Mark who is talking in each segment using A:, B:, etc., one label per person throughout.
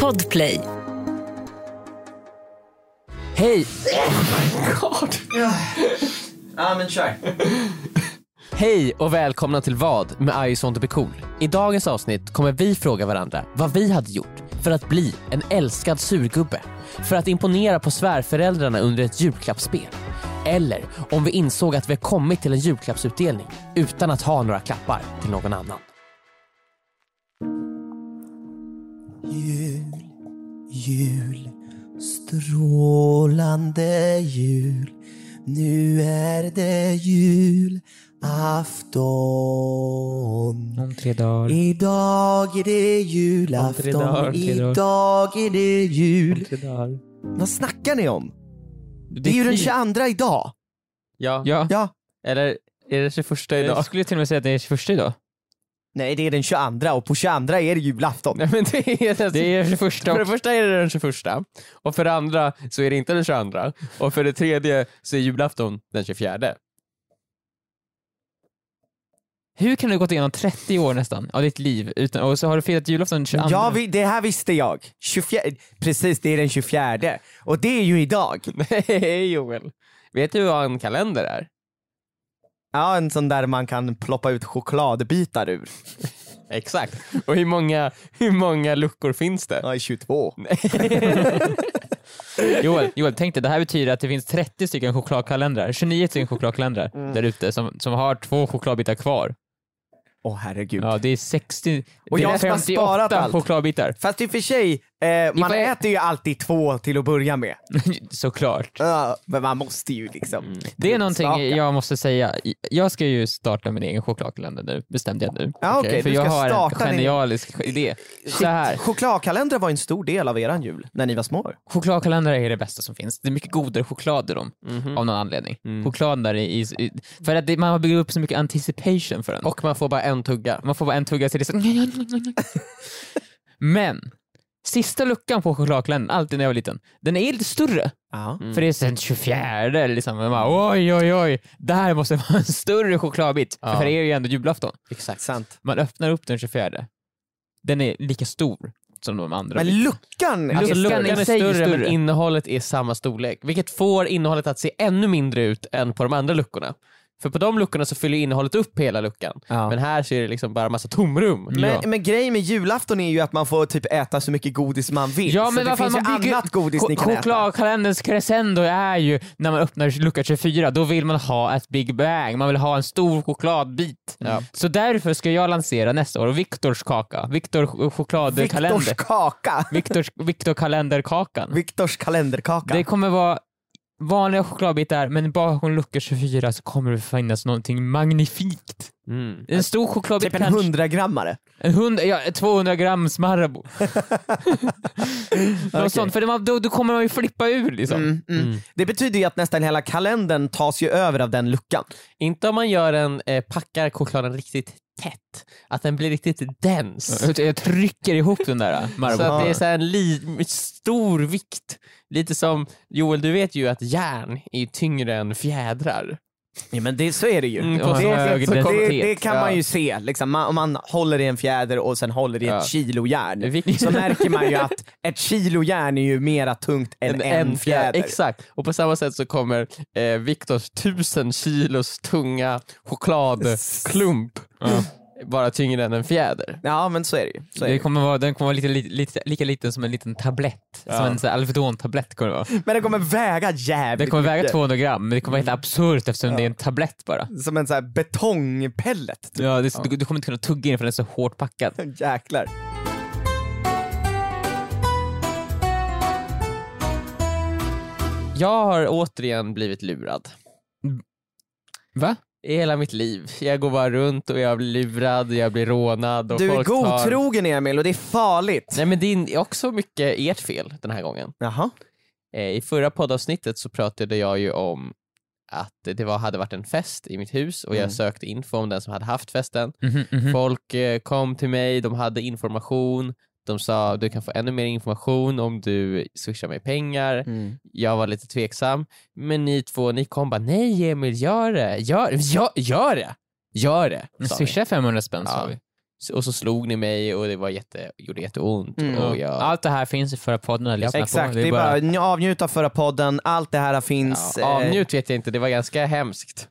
A: Podplay.
B: Hej!
C: Ja men kör.
B: Hej och välkomna till Vad med I sånt be cool. I dagens avsnitt kommer vi fråga varandra vad vi hade gjort för att bli en älskad surgubbe, för att imponera på svärföräldrarna under ett julklappsspel. Eller om vi insåg att vi kommit till en julklappsutdelning utan att ha några klappar till någon annan.
D: Jul, jul, strålande jul. Nu är det julafton.
E: Om tre dagar.
D: Idag är det
E: Om tre dagar,
D: julafton.
E: tre dagar.
D: Idag är det jul.
E: tre dagar.
D: Vad snackar ni om? Det är ju den 22 idag.
B: Ja.
E: Ja.
D: Ja.
B: Eller är det 21
E: Jag skulle till och med säga att det är 21 idag.
D: Nej, det är den 22 och på 22 är det julafton.
B: Nej, men det är den
E: Det är 21
B: För det
E: och...
B: första är det den 21 och för det andra så är det inte den 22 och för det tredje så är julafton den 24.
E: Hur kan du ha gått igenom 30 år nästan av ditt liv utan, och så har du firat julafton den 22?
D: Ja, vi, det här visste jag. 24, precis, det är den 24. Och det är ju idag.
B: Nej Joel, vet du vad en kalender är?
D: Ja, en sån där man kan ploppa ut chokladbitar ur.
B: Exakt. Och hur många, hur många luckor finns det?
D: Ja, i 22.
E: Joel, Joel, tänk dig, det här betyder att det finns 30 stycken chokladkalendrar, 29 stycken chokladkalendrar
D: Mm.
E: där ute som, som har två chokladbitar kvar.
D: Åh herregud.
E: Ja, det är 60...
D: Och
E: det
D: jag
E: är
D: som har sparat allt.
E: chokladbitar.
D: Fast i och för sig, eh, man
E: får-
D: äter ju alltid två till att börja med.
E: Såklart.
D: Ja, men man måste ju liksom.
E: Mm. Det är någonting
D: Smaka.
E: jag måste säga. Jag ska ju starta min egen chokladkalender nu, bestämde jag nu.
D: Ja, okej,
E: För
D: du
E: jag
D: ska
E: har en
D: starta din-
E: genialisk idé. Så här,
D: Chokladkalendrar var en stor del av eran jul när ni var små.
E: chokladkalendrar är det bästa som finns. Det är mycket godare choklad i dem, av någon anledning. Choklad där i, i, för att det, man har byggt upp så mycket anticipation för den.
B: Och man får bara en tugga.
E: Man får bara en tugga så det är så... Men, sista luckan på chokladkalendern, alltid när jag var liten, den är lite större.
D: Ja.
E: För det är sen 24 liksom. Man bara, oj, oj, oj. Där måste vara en större chokladbit.
B: Ja.
E: För det är ju ändå julafton.
D: Exakt. Sant.
E: Man öppnar upp den 24. Den är lika stor som de andra.
D: Men luckan!
E: Alltså, luckan
B: Luckan
E: i
B: är
E: sig
B: större, men
E: är större.
B: innehållet är samma storlek. Vilket får innehållet att se ännu mindre ut än på de andra luckorna. För på de luckorna så fyller innehållet upp hela luckan.
D: Ja.
B: Men här så är det liksom bara massa tomrum.
D: Men, men grejen med julafton är ju att man får typ äta så mycket godis man vill.
E: Ja,
D: så
E: men
D: det
E: vad fan,
D: finns
E: man
D: ju
E: bygger...
D: annat godis
E: Ko-
D: ni kan äta.
E: Chokladkalenderns crescendo är ju när man öppnar lucka 24, då vill man ha ett Big Bang, man vill ha en stor chokladbit. Så därför ska jag lansera nästa år Viktors kaka, Viktor ch-
D: Viktors
E: chokladkalender.
D: kaka!
E: Viktors, Viktor kalenderkakan.
D: Viktors kalenderkaka.
E: Det kommer vara vanliga chokladbitar, men bakom lucka 24 så kommer det finnas någonting magnifikt.
B: Mm.
E: En stor chokladbit
D: Typ en
E: kanske.
D: hundragrammare.
E: En hund, ja, 200 grams Marabou. Något
D: Okej.
E: sånt, för det, man- då, då kommer man ju flippa ur liksom.
D: Det betyder ju att nästan hela kalendern tas ju över av den luckan.
B: Inte om man gör en, eh, packar chokladen riktigt tätt. Att den blir riktigt dens.
E: Jag trycker ihop den där
B: Så
E: Marabou.
B: att det är så här en li- stor vikt. Lite som, Joel du vet ju att järn är tyngre än fjädrar.
D: Ja, men det, så är det ju.
B: Mm,
D: det,
B: och
E: så
D: det,
E: hög
D: det, det,
E: identitet.
D: det kan
B: Ja.
D: man ju se, liksom. man, om man håller i en fjäder och sen håller i ett
B: Ja.
D: kilo järn.
B: Vikt-
D: Så märker man ju att ett kilo järn är ju mera tungt än en, fjäder.
B: Exakt, och på samma sätt så kommer eh, Viktors tusen kilos tunga chokladklump vara tyngre än en fjäder.
D: Ja men så är det ju. Så är det.
E: Det
D: ju.
E: kommer vara, den kommer vara lite, lite, lite, lika liten som en liten tablett. Som en sån här Alvedon-tablett kommer det vara.
D: Men det kommer väga jävligt
E: Den kommer väga
D: mycket.
E: 200 gram, men det kommer vara helt absurt eftersom det är en tablett bara.
D: Som en sån här betongpellet.
E: Ja, det, Du, du kommer inte kunna tugga i den för den är så hårt packad.
D: Jäklar.
B: Jag har återigen blivit lurad.
E: Va?
B: I hela mitt liv. Jag går bara runt och jag blir lurad, jag blir rånad och
D: Du är
B: folk tar-
D: godtrogen Emil och det är farligt.
B: Nej men det är också mycket ert fel den här gången.
D: Jaha.
B: Eh, I förra poddavsnittet så pratade jag ju om att det var, hade varit en fest i mitt hus och jag sökte info om den som hade haft festen.
E: Mhm, mhm.
B: Folk eh, kom till mig, de hade information, de sa du kan få ännu mer information om du swishar mig pengar. Jag var lite tveksam, men ni två ni kom bara nej Emil gör det, gör, gör, gör det, gör det. sa ni.
E: Swisha 500 spänn
B: Ja.
E: sa vi.
B: S- Och så slog ni mig och det var jätte, gjorde jätteont.
D: Mm.
B: Och jag,
E: Allt det här finns i förra podden att lyssna
D: Exakt,
E: på.
D: det är bara nj- avnjut av förra podden, allt det här finns. eh,
B: ja, avnjut vet jag inte, det var ganska hemskt.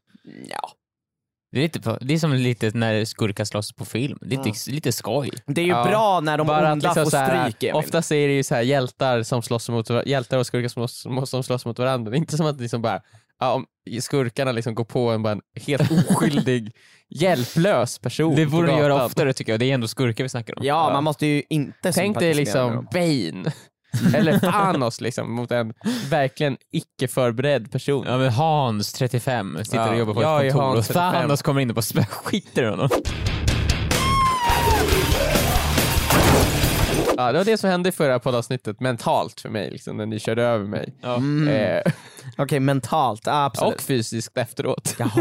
E: det, är lite, på- det är som lite när skurkar slåss på film. Det är lite, lite skoj.
D: Eh, det är ju
B: Ja.
D: bra när de
B: Bara
D: bara
B: att
D: onda
B: liksom
D: får
B: så här,
D: stryk Emil.
B: oftast är det ju så här hjältar, som slåss mot, var- hjältar och skurkar som slåss, som slåss mot varandra. Det är inte som att liksom bara, ja, om skurkarna liksom går på en, bara en helt oskyldig, hjälplös person
E: Det
B: på
E: borde du göra
B: gatan.
E: oftare tycker jag. Det är ändå skurkar vi snackar om.
D: Ja, man måste ju inte
B: Tänk dig
D: sympatisera
B: liksom
D: med dem.
B: Bane eller Thanos liksom, mot en verkligen icke förberedd person.
E: Ja, men Hans, 35, sitter
B: Ja.
E: och jobbar på
B: Jag är
E: ett kontor
B: Hans,
E: och
B: 35.
E: Thanos kommer in och bara spö- skiter i honom.
B: Ja, det var det som hände i förra poddavsnittet mentalt för mig, liksom, när ni körde över mig. Eh,
D: Okej, mentalt, Mm. absolut.
B: och fysiskt efteråt.
D: Jaha.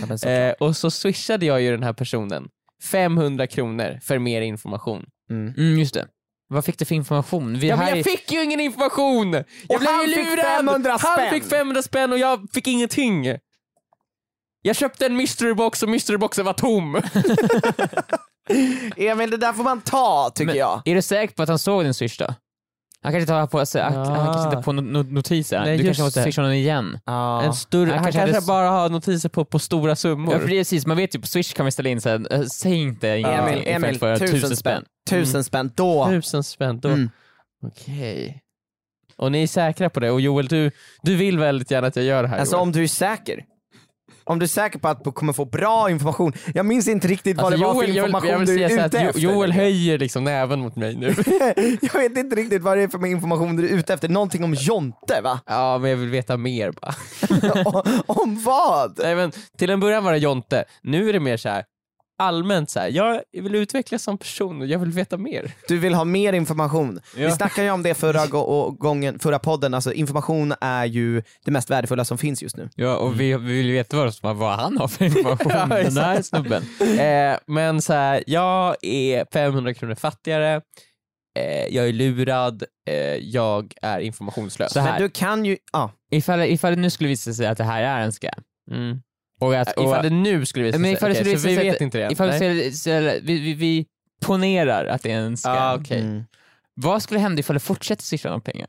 D: Ja, men så-
B: Eh, och så swishade jag ju den här personen 500 kronor för mer information.
D: mm.
E: Mm, just det. Vad fick du för information? Vi
B: Ja, men
E: här
B: jag fick ju ingen information! Jag
D: Och
B: blev
D: han
B: ju
D: fick
B: lurad!
D: 500
B: Han
D: spänn.
B: fick 500 spänn och jag fick ingenting. Jag köpte en mystery box och mystery boxen var tom.
D: Emil, det där får man ta tycker
E: Men
D: jag.
E: Är du säker på att han såg din swish då? Han kanske inte har på sig, han,
B: Ja.
E: han kanske inte på no, no, notiser.
B: Nej, just
E: du kanske måste
B: det.
E: swisha honom igen.
B: En större,
E: Han
B: han kanske,
E: kanske hade-
B: bara har notiser på, på stora summor.
E: Ja, för det är precis, man vet ju på swish kan vi ställa in såhär, äh, säg inte
D: Emil,
E: ingenting ifall
D: Emil,
E: jag får tusen spänn.
D: Tusen spänn, då.
B: Mm. Tusen spänn då.
D: Mm.
B: Okej. Och ni är säkra på det? Och Joel, du, du vill väldigt gärna att jag gör det här
D: Alltså
B: Joel.
D: om du är säker. Om du är säker på att du kommer få bra information. Jag minns inte riktigt vad
B: Alltså,
D: det var
B: Joel,
D: för
B: jag vill-
D: information
B: jag vill
D: du
B: säga
D: är
B: så här
D: ute
B: att
D: efter.
B: Jo- Joel höjer liksom näven mot mig nu.
D: jag vet inte riktigt vad det är för information du är ute efter. Någonting om Jonte va?
B: ja, men jag vill veta mer bara.
D: O- om vad?
B: Nej, men, till en början var det Jonte, nu är det mer så här allmänt så här. jag vill utvecklas som person och jag vill veta mer.
D: Du vill ha mer information. Vi
E: Ja.
D: snackade ju om det förra, gå- och gången, förra podden, alltså information är ju det mest värdefulla som finns just nu.
E: Ja, och vi, vi vill ju veta vad, som- vad han har för information,
B: Ja,
E: den här
B: exakt.
E: snubben.
B: Eh, men så här, jag är 500 kronor fattigare, eh, jag är lurad, eh, jag är informationslös.
E: Så här.
D: Men du kan ju, ja.
E: Ifall, ifall det nu skulle visa sig att det här är en scam.
B: Mm.
E: Och att, och,
B: Ifall det nu skulle visa
E: Men
B: sig,
E: ifall det
B: Okej,
E: skulle
B: så
E: visa
B: vi
E: sig
B: vet
E: att-
B: inte det än.
E: ifall det
B: Nej.
E: skulle- skulle- vi, vi, vi ponerar att det är en scam.
B: Ah, okej.
D: Mm.
E: Vad skulle hända ifall du fortsätter swisha någon pengar?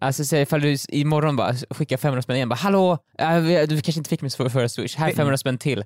E: Alltså säg ifall du s- imorgon bara skickar 500 spänn igen, bara hallå, äh, vi- du kanske inte fick min för- förra swish, här är 500 spänn till.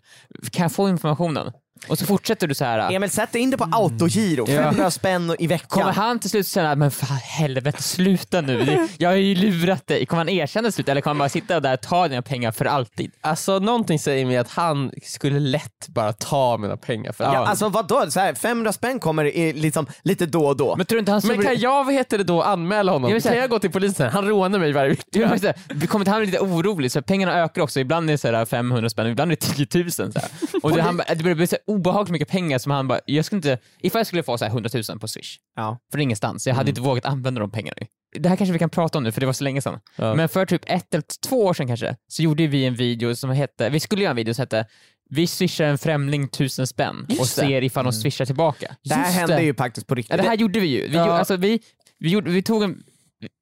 E: Kan jag få informationen? Och så fortsätter du så här. äh,
D: Emil, sätt dig in det på autogiro,
B: Mm.
D: 500 spänn i
E: Kommer
D: veckan.
E: han till slut känna, men för helvete sluta nu, Det- jag har ju lurat dig. Kommer han erkänna till slut eller kommer han bara sitta där och ta dina pengar för alltid?
B: Alltså någonting säger mig att han skulle lätt bara ta mina pengar för
D: Ja, alltså vadå, så här, 500 spänn kommer i, liksom, lite då och då.
E: Men tror du inte han
B: Men kan jag, vad heter det då, anmäla honom?
E: Jag vill säga-
B: kan jag gå till polisen? Han rånar mig varje vecka.
E: Du, men så här, vi kommer till han bli lite orolig, så här, pengarna ökar också. Ibland är det så här 500 spänn, ibland är det 10 000. Så här. Och det, han, bara- det börjar bli så här obehagligt mycket pengar som han bara, jag skulle inte, ifall jag skulle få så här 100 000 på swish,
D: Ja.
E: från ingenstans,
B: Mm.
E: jag hade inte vågat använda de pengarna. ju. Det här kanske vi kan prata om nu för det var så länge sedan.
B: Ja.
E: Men för typ ett eller två år sedan kanske, så gjorde vi en video som hette, vi skulle göra en video som hette vi swishar en främling tusen spänn och
B: Just det. Mm.
E: ser ifall de swishar tillbaka.
D: Det här
B: Just
D: hände
B: det.
D: ju faktiskt på
E: Ja,
D: riktigt.
E: det här gjorde vi ju. Vi,
B: Ja.
E: gjorde, alltså, vi, vi, gjorde, vi tog en...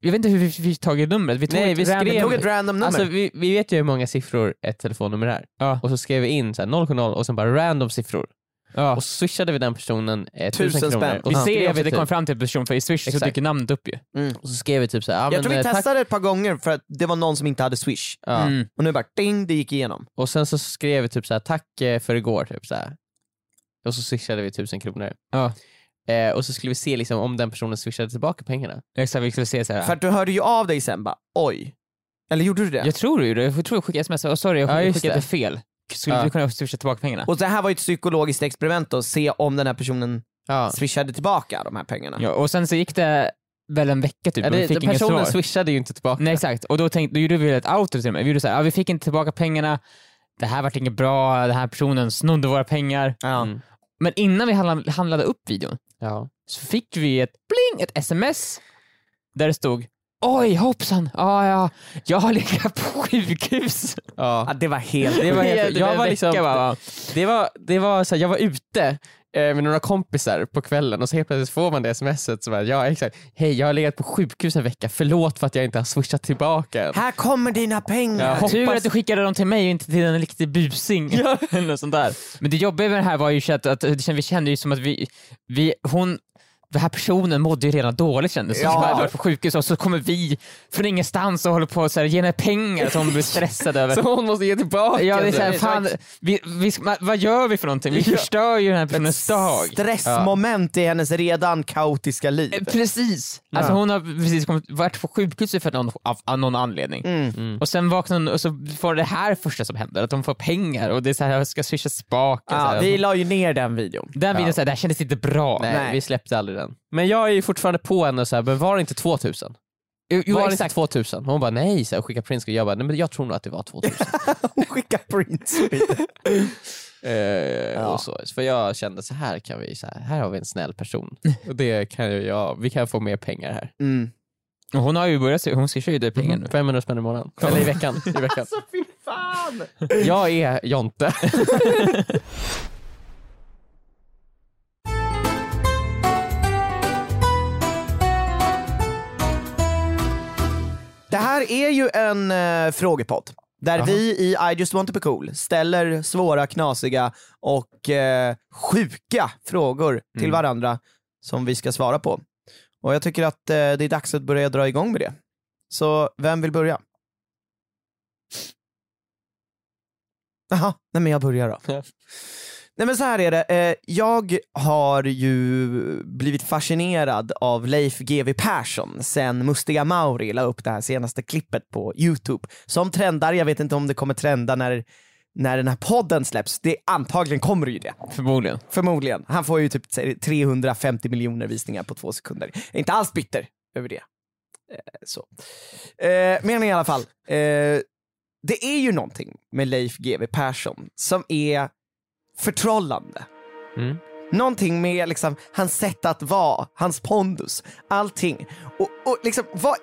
E: Jag vet inte hur vi fick tag i numret. Vi tog
B: Nej,
E: ett
B: vi
E: random-
B: skrev-
D: Tog ett random nummer.
B: Alltså vi, vi vet ju hur många siffror ett telefonnummer är.
E: Ja.
B: Och så skrev vi in så här 0,0 och sen bara random siffror.
E: Ja.
B: Och så swishade vi den personen eh,
D: Tusen
B: 1000 kronor.
D: spänn.
B: Och
E: Vi
B: så,
E: ser
B: skrev
E: att
B: vi
E: det kom
B: typ,
E: fram till en person för i Swish så
B: Exakt.
E: dyker namnet upp ju.
B: och så skrev vi typ så här, ja,
D: jag
B: men,
D: tror vi
B: eh, tack.
D: testade ett par gånger för att det var någon som inte hade swish.
B: Ja.
E: Mm.
D: Och nu bara ding, det gick igenom.
B: Och sen så skrev vi typ så här, tack eh, för igår. Typ så här. Och så swishade vi 1000 kronor.
E: Ja.
B: Eh, och så skulle vi se liksom, om den personen swishade tillbaka pengarna.
E: Exakt, vi skulle se så här.
D: För att du hörde ju av dig sen bara oj. Eller gjorde du det?
E: Jag tror ju det. Jag tror jag skickade sms och sorry, jag
B: Ja,
E: skickade
B: just
E: skickade
B: det.
E: fel. Skulle
B: Ja.
E: du kunna swisha tillbaka pengarna?
D: Och det här var ju ett psykologiskt experiment att se om den här personen
B: Ja.
D: swishade tillbaka de här pengarna.
E: Ja, och sen så gick det väl en vecka typ
B: Ja,
E: och vi
B: det,
E: fick
B: den
E: inget svar.
B: personen swishade ju inte tillbaka.
E: Nej exakt, och då, tänkte, då gjorde vi ett outro till mig. Vi gjorde så här, ja, vi fick inte tillbaka pengarna, det här vart inget bra, den här personen snodde våra pengar.
D: Ja.
B: Mm.
E: Men innan vi handla- handlade upp videon
B: Ja.
E: så fick vi ett pling, ett sms där det stod Oj hoppsan, ah, ja, jag har legat på sjukhus.
B: Ja.
D: Ja, det var helt
B: Det var
E: Jag
B: helt, jag var liksom,
E: bara,
B: det var, det var så här, jag var ute eh, med några kompisar på kvällen och så helt plötsligt får man det smset som är ja exakt, hej jag har legat på sjukhus en vecka, förlåt för att jag inte har swishat tillbaka än.
D: Här kommer dina pengar!
B: Ja.
E: Tur
B: Hoppas-
E: att du skickade dem till mig och inte till en riktig busing. Eller något sånt där. Men det jobbiga med det här var ju att, att det kände- vi kände ju som att vi, vi hon, den här personen mådde ju redan dåligt kändes det som.
D: Ja.
E: Hon hade varit på sjukhus och så kommer vi från ingenstans och håller på att ge henne pengar som hon blir stressad över.
B: Så hon måste ge tillbaka
E: Ja, det är
B: det.
E: såhär, fan, vi, vi, ma- vad gör vi för någonting? Vi förstör ju den här personens dag.
D: Stressmoment i hennes redan kaotiska liv.
B: typ.
E: Eh, Precis! Alltså hon har precis kommit, varit på sjukhuset för någon, av, av någon anledning.
B: Mm.
E: Och sen vaknar hon och så får det här första som händer, att hon får pengar och det är så här, jag ska swisha spaken. så
D: Ja,
E: här.
D: vi la ju ner den videon.
E: Den videon, så här, det här kändes inte bra.
B: Nej,
D: Nej.
B: vi släppte aldrig den. Men jag är ju fortfarande på henne och så här, men var det inte 2000?
E: Jo, jo,
B: var det inte
E: exakt.
B: 2000? Hon bara nej, så här, skicka printscreen. Jag bara nej men jag tror nog att det var 2000.
D: Hon skickar prints.
B: eh, och så. För jag kände så här kan vi, så här, här har vi en snäll person. Och det kan ju jag, vi kan få mer pengar här.
D: Mm.
E: Och Hon har ju börjat, hon swishar ju dig pengar nu.
B: 500 spänn i månaden. Eller i veckan. I veckan. alltså fy fan! Jag är Jonte.
D: Det här är ju en eh, frågepodd där vi i I just want to be cool ställer svåra, knasiga och eh, sjuka frågor till varandra som vi ska svara på. Och jag tycker att eh, det är dags att börja dra igång med det. Så vem vill börja? Jaha, nej men jag börjar då. Nej men så här är det, eh, jag har ju blivit fascinerad av Leif GW Persson sen Mustiga Mauri la upp det här senaste klippet på Youtube. Som trendar, jag vet inte om det kommer trenda när, när den här podden släpps, det antagligen kommer ju det.
E: Förmodligen.
D: Förmodligen. Han får ju typ 350 miljoner visningar på två sekunder. Jag är inte alls bitter över det. Eh, Så. Eh, Men i alla fall, eh, det är ju någonting med Leif GW Persson som är förtrollande.
B: Mm.
D: Någonting med liksom, hans sätt att vara, hans pondus, allting. Och, och liksom, vad,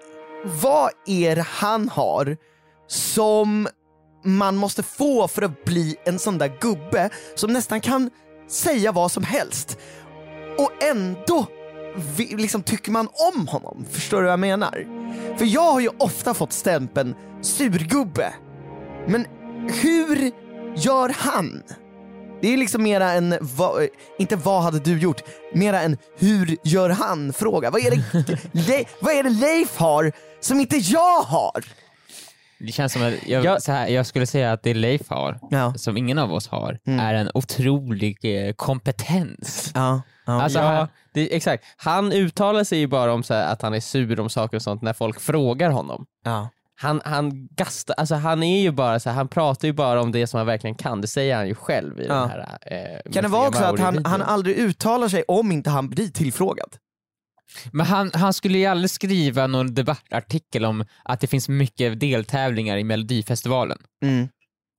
D: vad är det han har som man måste få för att bli en sån där gubbe som nästan kan säga vad som helst. Och ändå vi, liksom, tycker man om honom. Förstår du vad jag menar? För jag har ju ofta fått stämpeln surgubbe. Men hur gör han? Det är liksom mera en, va, inte vad hade du gjort, mera en hur gör han fråga. Vad är det, Le, vad är det Leif har som inte jag har?
E: Det känns som att jag,
B: Jag-
E: så här, jag skulle säga att det Leif har,
D: Ja.
E: som ingen av oss har,
D: Mm.
E: är en otrolig eh, kompetens.
D: Ja, ja.
B: Alltså,
E: Ja.
B: han, det, exakt. Han uttalar sig ju bara om så här, att han är sur om saker och sånt när folk frågar honom.
D: ja.
B: Han, han gastar, alltså han är ju bara så här, han pratar ju bara om det som han verkligen kan, det säger han ju själv i
D: Ja.
B: den här eh,
D: Kan det vara också att han, han aldrig uttalar sig om inte han blir tillfrågad?
E: Men han, han skulle ju aldrig skriva någon debattartikel om att det finns mycket deltävlingar i Melodifestivalen.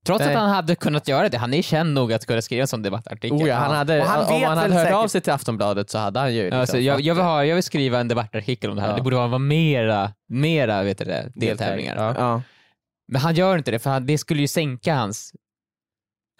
E: Trots
B: Nej.
E: att han hade kunnat göra det. Han är känd nog att kunna skriva en sån debattartikel.
B: Oh ja, han hade,
D: Och han
B: om
D: vet
B: han hade
D: väl
B: hört
D: säkert-
B: av sig till Aftonbladet så hade han ju liksom,
E: Alltså, jag, jag, vill ha, jag vill skriva en debattartikel om det här.
B: Ja.
E: Det borde vara mera, mera vet du det, deltävlingar.
B: Ja.
D: Ja.
E: Men han gör inte det, för han, det skulle ju sänka hans,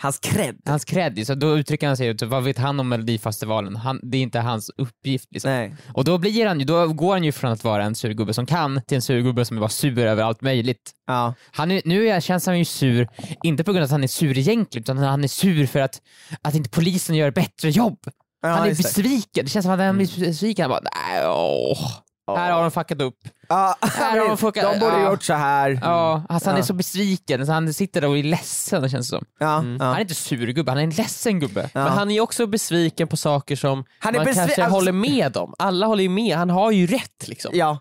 D: Hans cred.
E: hans cred. Så då uttrycker han sig ju, typ, vad vet han om Melodifestivalen? Han, det är inte hans uppgift. Liksom.
D: Nej.
E: Och då, blir han ju, då går han ju från att vara en surgubbe som kan till en surgubbe som var sur över allt möjligt.
D: Ja.
E: Han är, nu är, känns han ju sur, inte på grund av att han är sur egentligen, utan han är sur för att, att inte polisen gör ett bättre jobb.
D: Ja,
E: han är
D: just det.
E: besviken. Det känns som att han blir besviken. Han bara, nej, åh. Här har de fuckat upp.
D: Ja,
E: Här har de fuckat-
D: de borde
E: ja.
D: gjort så här.
E: Ja, alltså han
D: Mm.
E: är
D: Ja.
E: så besviken, så han sitter där och är ledsen det känns det som.
D: Ja, ja.
E: Mm. Han är inte sur gubbe, han är en ledsen gubbe.
D: Ja.
B: Men han är ju också besviken på saker som
D: Han är
B: man
D: besvi-
B: kanske
D: alltså-
B: håller med om. Alla håller ju med, han har ju rätt liksom.
D: Ja.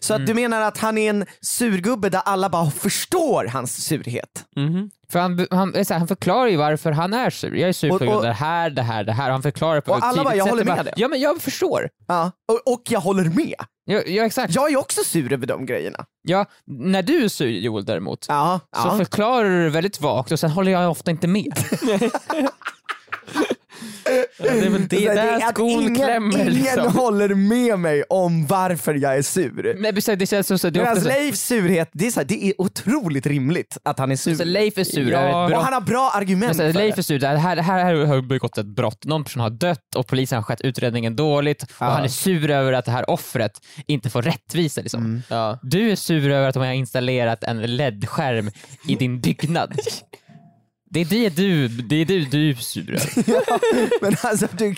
D: Så
E: Mm.
D: att du menar att han är en surgubbe där alla bara förstår hans surhet?
B: Mhm.
E: För han, han, är så här, han förklarar ju varför han är sur. Jag är sur
D: Och-
E: på grund av
D: och-
E: det här, det här, det här. Han förklarar på
D: Och
E: ett
D: alla bara,
E: tydligt
D: jag
E: sätt
D: håller
E: och bara,
D: med dig.
E: Ja men jag förstår.
D: Ja. Och, och jag håller med.
E: Ja, ja exakt.
D: Jag är också sur över de grejerna.
E: Ja, när du är sur Joel däremot,
D: Ja.
E: så
D: ja.
E: förklarar du det väldigt vagt och sen håller jag ofta inte med.
B: det är väl det,
D: Så
B: där
D: är att
B: skon
D: ingen,
B: klämmer
D: Ingen
B: liksom.
D: håller med mig om varför jag är sur.
E: Nej, precis, det känns som så. Mm. Det är
D: Medan
E: ofta så.
D: Leifs surhet, det är, så här, det är otroligt rimligt att han är
E: Så
D: sur.
E: Alltså, Leif är sur.
B: Ja.
E: Ja. Ett
D: och
E: brott.
D: han har bra argument
E: Så här, Alltså,
D: för
E: Leif är
D: det.
E: sur. Det här, det här har begått ett brott. Någon person har dött och polisen har skött utredningen dåligt och han är sur över att det här offret inte får rättvisa. Liksom.
D: Mm.
B: Ja.
E: Du är sur över att de har installerat en LED-skärm i din byggnad. Det är det du, det är du, du är sur över.
D: Men alltså du,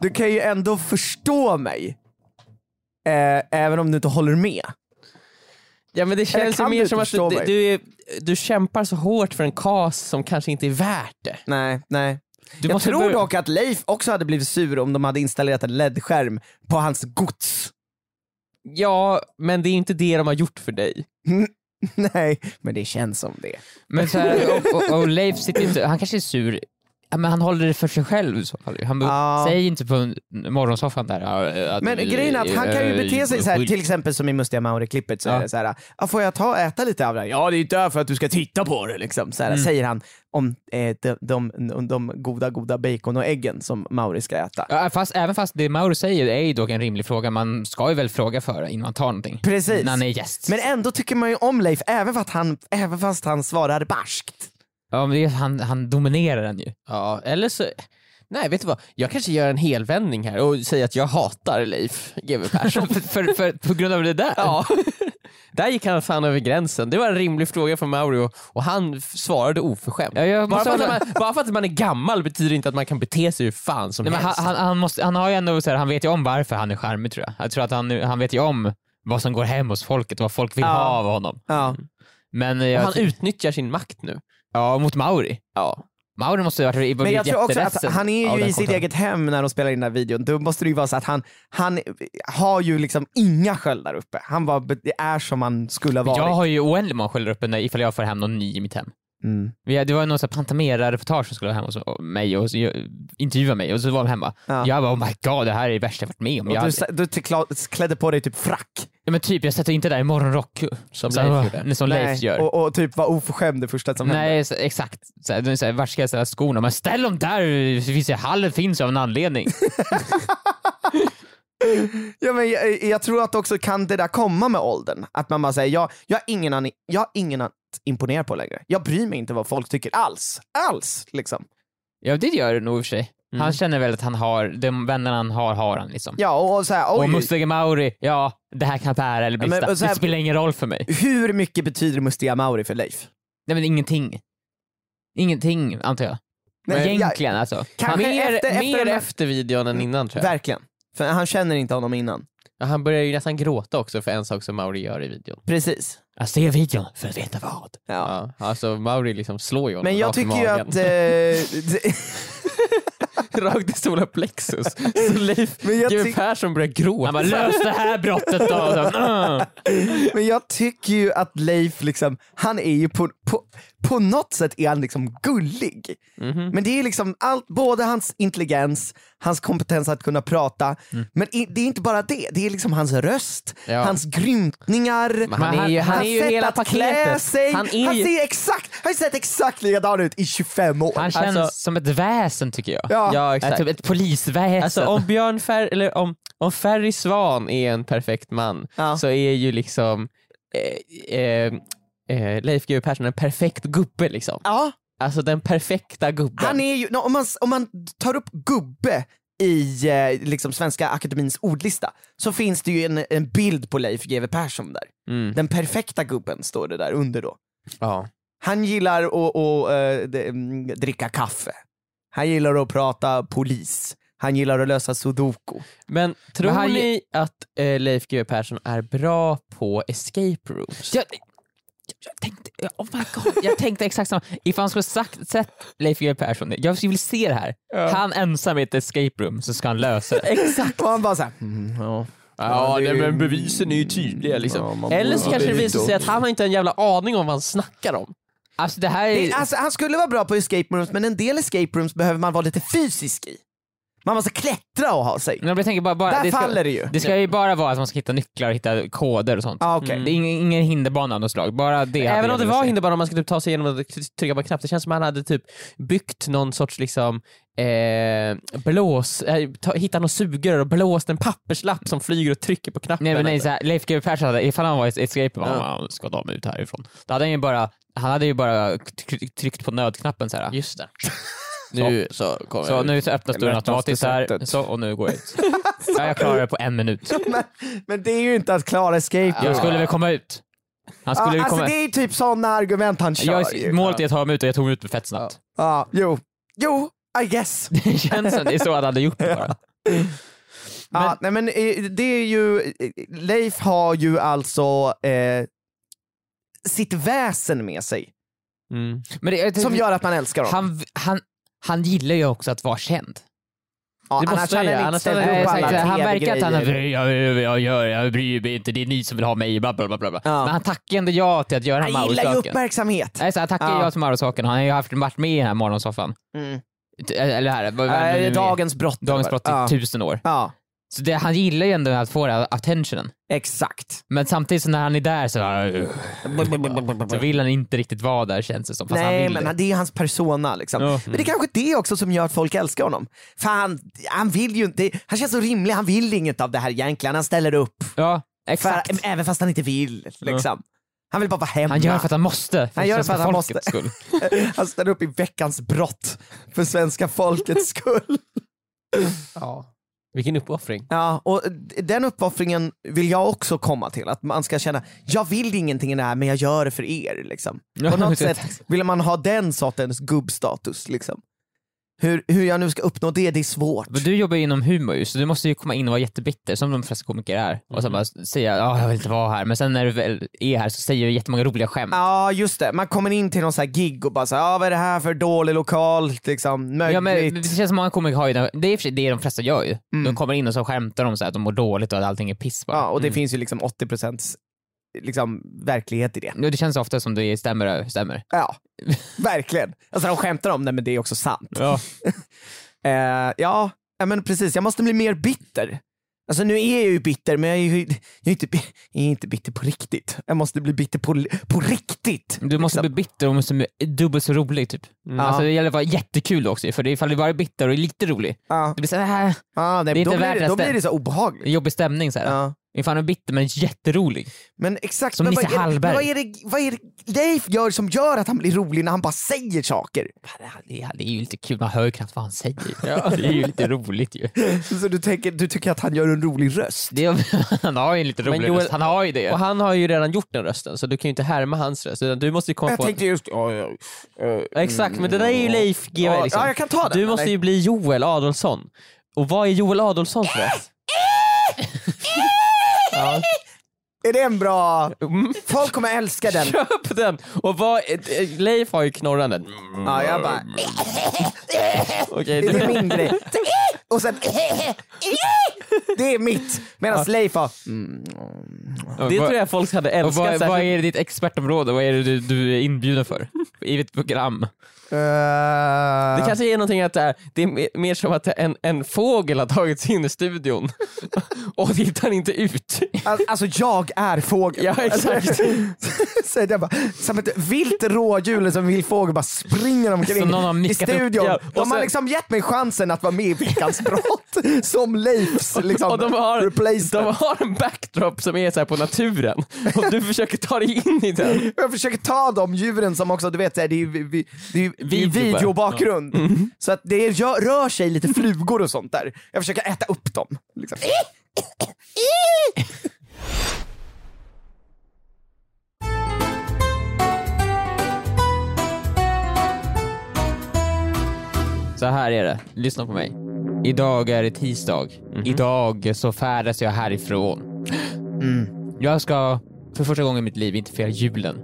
D: du kan ju ändå förstå mig. Eh, även om du inte håller med.
B: ja men det känns ju
D: kan
B: mer
D: du
B: som
D: inte
B: att
D: förstå
B: du,
D: mig?
B: du, är, du kämpar så hårt för en kas som kanske inte är värt det.
D: Nej, nej.
E: Du
D: jag
E: måste
D: tror
E: börja-
D: dock att Leif också hade blivit sur om de hade installerat en LED-skärm på hans gods.
B: Ja, men det är inte det de har gjort för dig.
D: nej, men det känns som det.
E: Men så här, och, och, och Leif sitter inte, han kanske är sur, ja, men han håller det för sig själv i så fall. Han
D: Ja.
E: säger inte på en- morgonsoffan där. ja, Att,
D: Men grejen är att han kan ju bete sig så här, till exempel som i Mustiga Mauri-klippet, så är
E: Ja.
D: det så här, "Ah, får jag ta och äta lite av det här?" Ja, det är inte för att du ska titta på det liksom, så här,
E: Mm.
D: säger han om eh, de, de, om de goda, goda bacon och äggen som Mauri ska äta.
E: Ja, fast, även fast det Mauro säger är ju dock en rimlig fråga, man ska ju väl fråga för innan man tar någonting.
D: Precis.
E: När han är gäst.
D: Men ändå tycker man ju om Leif, även fast han, även fast han svarar barskt.
E: Ja, men det är, han, han dominerar den ju.
B: Ja, eller så... Nej, vet du vad? Jag kanske gör en helvändning här och säger att jag hatar Leif GW Persson.
E: för, för, för, på grund av det där?
B: ja. Där gick han fan över gränsen. Det var en rimlig fråga från Mauri och, och han f- svarade oförskämt.
E: Ja, jag
B: Bara
E: måste
B: för, att
E: hålla-
B: man, bara för att man är gammal betyder inte att man kan bete sig hur fan som
E: Nej, men han,
B: helst.
E: han, han, måste, han har ju ändå, så här, han vet ju om varför han är charmig tror jag. Jag tror att han, han vet ju om vad som går hem hos folket och vad folk vill
D: Ja.
E: ha av honom.
D: Ja.
E: Men eh,
B: och
E: jag,
B: han utnyttjar sin makt nu.
E: ja, mot Mauri.
B: Ja.
E: Mauri måste ju ha varit
D: Men jag
E: blivit
D: tror också att
E: jätteledsen
D: han
E: av
D: är ju
E: den
D: i sitt
E: konfrontationen.
D: eget hem när de spelar in den här videon. Då måste det ju vara så att han, han har ju liksom inga sköldar uppe. Han bara, det är som han skulle ha varit.
E: Jag har ju oändligt många sköldar uppe när- ifall jag får hem någon ny i mitt hem.
D: Mm.
E: Vi- Det var någon sån här Pantamera-reportage som skulle vara hemma hos mig och så jag- intervjua mig och så var de hemma.
D: Ja.
E: Jag bara oh my god, det här är det värsta jag varit med om.
D: Och
E: Jag,
D: du, sa- du kla- klädde på dig typ frack.
E: ja, men typ, jag sätter inte där i morgonrock
B: Som
E: så-
B: Leif gjorde.
E: som
D: Nej,
E: Leif gör.
D: Och, och typ var oförskämd det första som hände.
E: Nej, så, exakt. Så här, det är så här, vart ska jag ställa skorna? Men ställ dem där! så Finns det, hallen finns av en anledning.
D: Ja, men jag, jag tror att också kan det där komma med åldern. Att man bara säger, jag, jag, har ingen aning, jag har ingen att imponera på längre. Jag bryr mig inte vad folk tycker alls. Alls! Liksom.
E: ja, det gör det nog i och för sig.
D: Mm.
E: Han känner väl att han har, de vännerna han har, har han liksom.
D: Ja, och, och så här,
E: Och
D: oj,
E: Mustiga Mauri, ja, det här kan bära eller
D: Ja, men-
E: brista.
D: och så här-
E: det spelar ingen roll för mig.
D: hur mycket betyder Mustiga Mauri för Leif?
E: Nej men ingenting. Ingenting, antar jag. Men
D: Nej, jag-
E: egentligen alltså.
D: Kanske
B: Mer,
D: efter,
B: mer
D: efter,
B: efter, videon än innan tror jag.
D: Verkligen. För han känner inte honom innan.
B: Ja, han börjar ju nästan gråta också för en sak som Mauri gör i videon.
D: Precis.
E: Jag ser videon för att veta vad.
D: Ja.
B: Ja. Alltså Mauri liksom slår ju honom
D: Men jag
B: rakt i
D: tycker ju
B: magen.
D: att... Eh, d-
B: Rakt i solar plexus. Så Leif
D: Men jag
B: GW
D: tyck-
B: Persson börjar gråta.
E: Han bara lös det här brottet då.
B: Alltså-
E: Mm.
D: Men jag tycker ju att Leif, liksom, han är ju på, på, på något sätt är han liksom gullig.
B: Mhm.
D: Men det är liksom allt, både hans intelligens, hans kompetens att kunna prata, men i, det är inte bara det, det är liksom hans röst,
B: Mm. Ja.
D: hans grymtningar,
B: Men han är ju- han
D: hans
B: är ju
D: sätt
B: hela
D: att klä
B: paketet.
D: sig. Han,
B: Han är ju-
D: ser exakt, han har sett exakt likadan ut i 25 år.
E: Han känns
B: Alltså-
E: som ett väsen tycker jag.
D: ja.
B: Ja
E: Äh,
B: exakt.
E: typ ett polisväsen.
B: Alltså om Björn Fer- eller om, om Ferry Svan är en perfekt man
D: Ja.
B: så är ju liksom eh, eh, eh, Leif GW Persson en perfekt gubbe liksom.
D: ja.
B: Alltså den perfekta gubben.
D: Han är ju, nå, om, man, om man tar upp gubbe i eh, liksom Svenska Akademins ordlista så finns det ju en, en bild på Leif GW Persson där.
B: Mm.
D: Den perfekta gubben står det där under då.
B: Ja.
D: Han gillar att att, eh, de- mm, dricka kaffe. Han gillar att prata polis. Han gillar att lösa sudoku.
B: Men tror
E: han-
B: ni att eh, Leif GW Persson är bra på escape rooms?
E: Jag, jag tänkte, oh my god, jag tänkte exakt samma. Ifall han skulle sagt, sett Leif GW Persson, jag vill se det här. Han ensam i ett escape room så ska han lösa det.
B: Exakt.
D: Och han bara såhär, mm, ja.
B: Ja,
D: det är
B: nej,
D: ju-
B: men bevisen är ju tydliga
D: Ja,
B: liksom.
D: man
B: Eller
D: borde-
B: så kanske det
D: det är
B: visar
D: ju
B: sig att han har inte en jävla aning om vad han snackar om.
E: Alltså
D: "Eh,
E: det här är...
D: Det, alltså, han skulle vara bra på escape rooms men en del escape rooms behöver man vara lite fysisk i. Man måste klättra och ha sig.
E: Men jag tänker bara, bara,
D: Där
E: det ska,
D: faller det ju.
E: Det ska ju bara vara att man ska hitta nycklar och hitta koder och sånt.
D: Ah, okej.
E: Det är ingen, ingen hinderbana av något slag, bara det. hade
B: Även om
E: jag
B: det
E: velat
B: var
E: se.
B: hinderbana om man skulle typ ta sig igenom och t- trycka på en knapp, det känns som att han hade typ byggt någon sorts liksom eh, blås, eh, ta, hittat någon sugrör och blåst en papperslapp som flyger och trycker på knappen.
E: Nej men nej, såhär, Leif GW Persson hade, ifall han var ett escape
B: Ja.
E: ja. han ska ta mig ut härifrån. Då hade han ju bara, han hade ju bara tryck- tryckt på nödknappen såhär.
B: Just det. nu så kommer
E: Så nu så öppnas dörren
D: lättaste
E: automatiskt här,
D: sättet.
E: så, och nu går jag ut. ja, jag klarar det på en minut.
D: Men, men det är ju inte att klara escape room.
E: Jag skulle väl komma ut. Han
D: Ja,
E: skulle väl
D: alltså
E: komma
D: det är ju typ sådana argument han kör
E: jag,
D: ju.
E: Målet är att ta mig ut och jag tog mig ut fett snabbt.
D: Ja, jo. Jo, I guess.
E: Det känns som det är så han hade gjort det bara.
D: ja, nej men eh, det är ju, eh, Leif har ju alltså eh, sitt väsen med sig
B: Mm.
E: Men det,
D: som gör att man älskar honom.
E: han, han, han gillar ju också att vara känd.
D: Ja,
B: det måste
D: annars
B: han
D: hade
B: ju,
D: han inte
B: annars hade han
D: ställt
E: Nej,
D: upp
E: exakt,
D: alla
E: så han verkar att han
D: TV-grejer.
E: har, jag, jag, jag, gör, jag bryr mig inte, det är ni som vill ha mig, bla bla bla. bla.
D: Ja.
E: Men han tackar ändå ja till att göra
D: Han gillar ju
E: Mauro-saken.
D: uppmärksamhet.
E: Nej, så han tackar
D: Ja.
E: ja till Mauro-saken, han har ju haft, varit med i den här morgonsoffan.
D: Mm.
E: T- Eller här, vad- vad det nu
D: Eh,
E: är.
D: dagens brott.
E: Dagens brott typ. i
D: Ja.
E: tusen år.
D: Ja,
E: Så det, han gillar ju ändå att få den här attentionen.
D: exakt.
E: Men samtidigt så när han är där så, så vill han inte riktigt vara där känns det som. Fast han
D: Nej
E: vill
D: men
E: det.
D: han- det är hans persona liksom.
E: Ja.
D: Men det är kanske det också som gör att folk älskar honom. För han, han vill ju inte, han känns så rimlig, han vill inget av det här egentligen. Han ställer upp,
E: Ja,
D: för,
E: exakt.
D: även fast han inte vill. Liksom. Han vill bara vara hemma.
E: Han gör för att han måste.
D: Han gör det för att han
E: folkets Skull.
D: han ställer upp i veckans brott för svenska folkets skull.
B: Vilken uppoffring.
D: Ja, och d- den uppoffringen vill jag också komma till. Att man ska känna, jag vill ingenting i det här men jag gör det för er. Liksom. På
E: Ja,
D: något
E: exakt.
D: sätt vill man ha den sortens gubbstatus. Liksom. Hur, hur jag nu ska uppnå det, det är svårt.
E: Men du jobbar ju inom humor ju, så du måste ju komma in och vara jättebitter som de flesta komiker är. Och
D: Mm.
E: sen bara säga ja jag vill inte vara här, men sen när du väl är här så säger du jättemånga roliga skämt.
D: Ja just det, man kommer in till någon sån här gig och bara såhär, ja vad är det här för dålig lokal? Liksom, möjligt.
E: Ja, men det känns som många komiker har ju den, det är i och för sig det de flesta gör ju. De kommer in och så skämtar de så här att de mår dåligt och att allting är piss bara.
D: Mm. Ja, och det finns ju liksom 80% liksom, verklighet i det.
E: Ja, Det känns ofta som det stämmer. stämmer.
D: Ja, verkligen. Alltså de skämtar om det men det är också sant.
E: Ja.
D: Eh, ja, ja, men precis. Jag måste bli mer bitter. Alltså nu är jag ju bitter, men jag är ju jag är inte, bi- jag är inte bitter på riktigt. Jag måste bli bitter på, på riktigt.
E: Du måste bli bitter och måste bli dubbelt så rolig typ.
D: Mm.
E: Alltså det gäller att vara jättekul också ju, för det är ifall du bara är bitter och är lite rolig,
D: Ja.
E: det blir såhär äh,
D: Ja, nej,
E: Det är
D: då,
E: inte
D: blir
E: värt
D: det, då
E: resten.
D: blir det så obehagligt.
E: jobbig stämning såhär.
D: Ja.
E: Ifall du är bitter men jätterolig.
D: Men exakt,
E: Som
D: men
E: Nisse
D: vad, är det,
E: Hallberg.
D: men vad, är det, vad är det Leif gör som gör att han blir rolig när han bara säger saker?
E: Det, det är ju lite kul, man hör ju knappt vad han säger. Det är ju lite roligt ju.
D: Så du, tänker, du tycker att han gör en rolig röst?
E: Det är, han har ju en lite rolig
B: Joel-
E: röst, han har ju det.
B: Och han har ju redan gjort den rösten så du kan ju inte härma hans röst utan du måste ju komma
D: Jag
B: på...
D: tänkte just... Ja, ja, ja. Mm.
B: Exakt, men det där är ju Leif GW
D: Ja,
B: liksom.
D: ja, jag kan ta den,
B: Du måste
D: eller?
B: ju bli Joel Adolfsson. Och vad är Joel Adolfssons röst?
D: Är det en bra... Folk kommer älska den.
B: Köp den! Och vad, eh, Leif har ju knorranden.
D: Ja, jag bara...
B: Okej,
D: Det är
B: du,
D: min grej. Så, eh, Och sen... Det är mitt. Medan Leif har... Mm,
B: det tror jag folk hade
E: och vad,
B: älskat.
E: vad
B: särskilt-
E: är ditt expertområde? Vad är det du, du är inbjuden för? I ett program?
D: eh,
B: Det kanske är någonting att det är, det är mer- mer som att en, en fågel har tagit sig in i studion och hittar inte ut.
D: Al- Alltså jag är fågeln.
B: Ja, exakt.
D: så jag bara, som ett vilt rådjur som en vild fågel bara springer omkring
E: Som någon har
D: i
E: mickat upp,
D: studion.
B: ja.
D: de
B: Och
D: har
B: så-
D: liksom gett mig chansen att vara med i Veckans brott som Leifs liksom,
B: Och de har, de
D: replacement.
B: har en backdrop som är så här på naturen och du försöker ta dig in i den.
D: Jag försöker ta de djuren som också, du vet, så här, det är ju vi- vi- det är ju- det är ju
B: Video bara. Mm.
D: videobakgrund. Så att det gör, rör sig lite flugor och sånt där. Jag försöker äta upp dem. Liksom.
E: Så här är det, lyssna på mig. Idag är det tisdag. Idag så färdas jag härifrån.
D: Mm.
E: Jag ska för första gången i mitt liv inte fira julen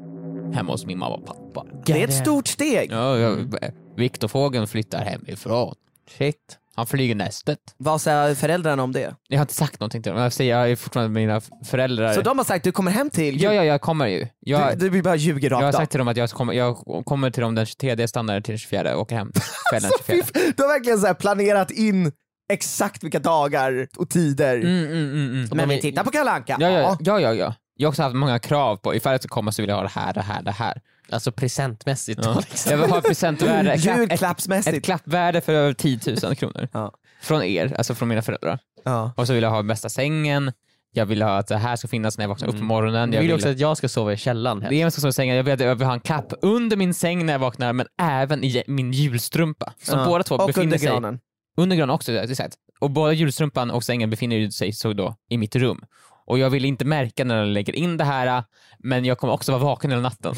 E: hemma hos min mamma och pappa.
D: Det är ett stort steg.
E: Ja, jag, Viktor Fågeln flyttar hemifrån. Shit. Han flyger nästet.
D: Vad säger föräldrarna om det?
E: Jag har inte sagt någonting till dem, jag säger jag är fortfarande med mina föräldrar.
D: Så de har sagt, du kommer hem till
E: Ja, ja, jag kommer ju. Jag,
D: Du, du bara ljuger
E: jag har
D: rakt av.
E: sagt till dem att jag kommer, jag kommer till dem den 23, jag stannar till den 24 och åker hem kvällen den
D: Fy
E: 24.
D: f- Du har verkligen så här planerat in exakt vilka dagar och tider.
E: Mm, mm, mm, mm.
D: Men
B: men-
D: vi tittar på Kalle Anka.
E: Ja, ja, ja, ja, ja. Jag har också haft många krav på ifall jag ska komma så vill jag ha det här, det här, det här.
B: Alltså presentmässigt då
E: Ja.
B: liksom.
E: Jag vill ha ett presentvärde, ett, klapp, ett, ett
D: Mm. Julklappsmässigt.
E: klappvärde för över 10 000 kronor.
D: Ja.
E: Från er, alltså från mina föräldrar.
D: Ja.
E: Och så vill jag ha bästa sängen, jag vill ha att det här ska finnas när jag vaknar upp på morgonen.
B: Du Mm.
E: Jag
B: vill
E: vill
B: också att jag ska sova i källaren
E: Det
B: helst.
E: är en sak som sängen, jag vill, att jag vill ha en kapp under min säng när jag vaknar men även i min julstrumpa. Som
D: Ja.
E: båda två
D: och
E: befinner
D: under
E: sig
D: granen.
E: under granen också. Exakt. Och båda julstrumpan och sängen befinner ju sig så då i mitt rum. Och jag vill inte märka när jag lägger in det här men jag kommer också vara vaken hela natten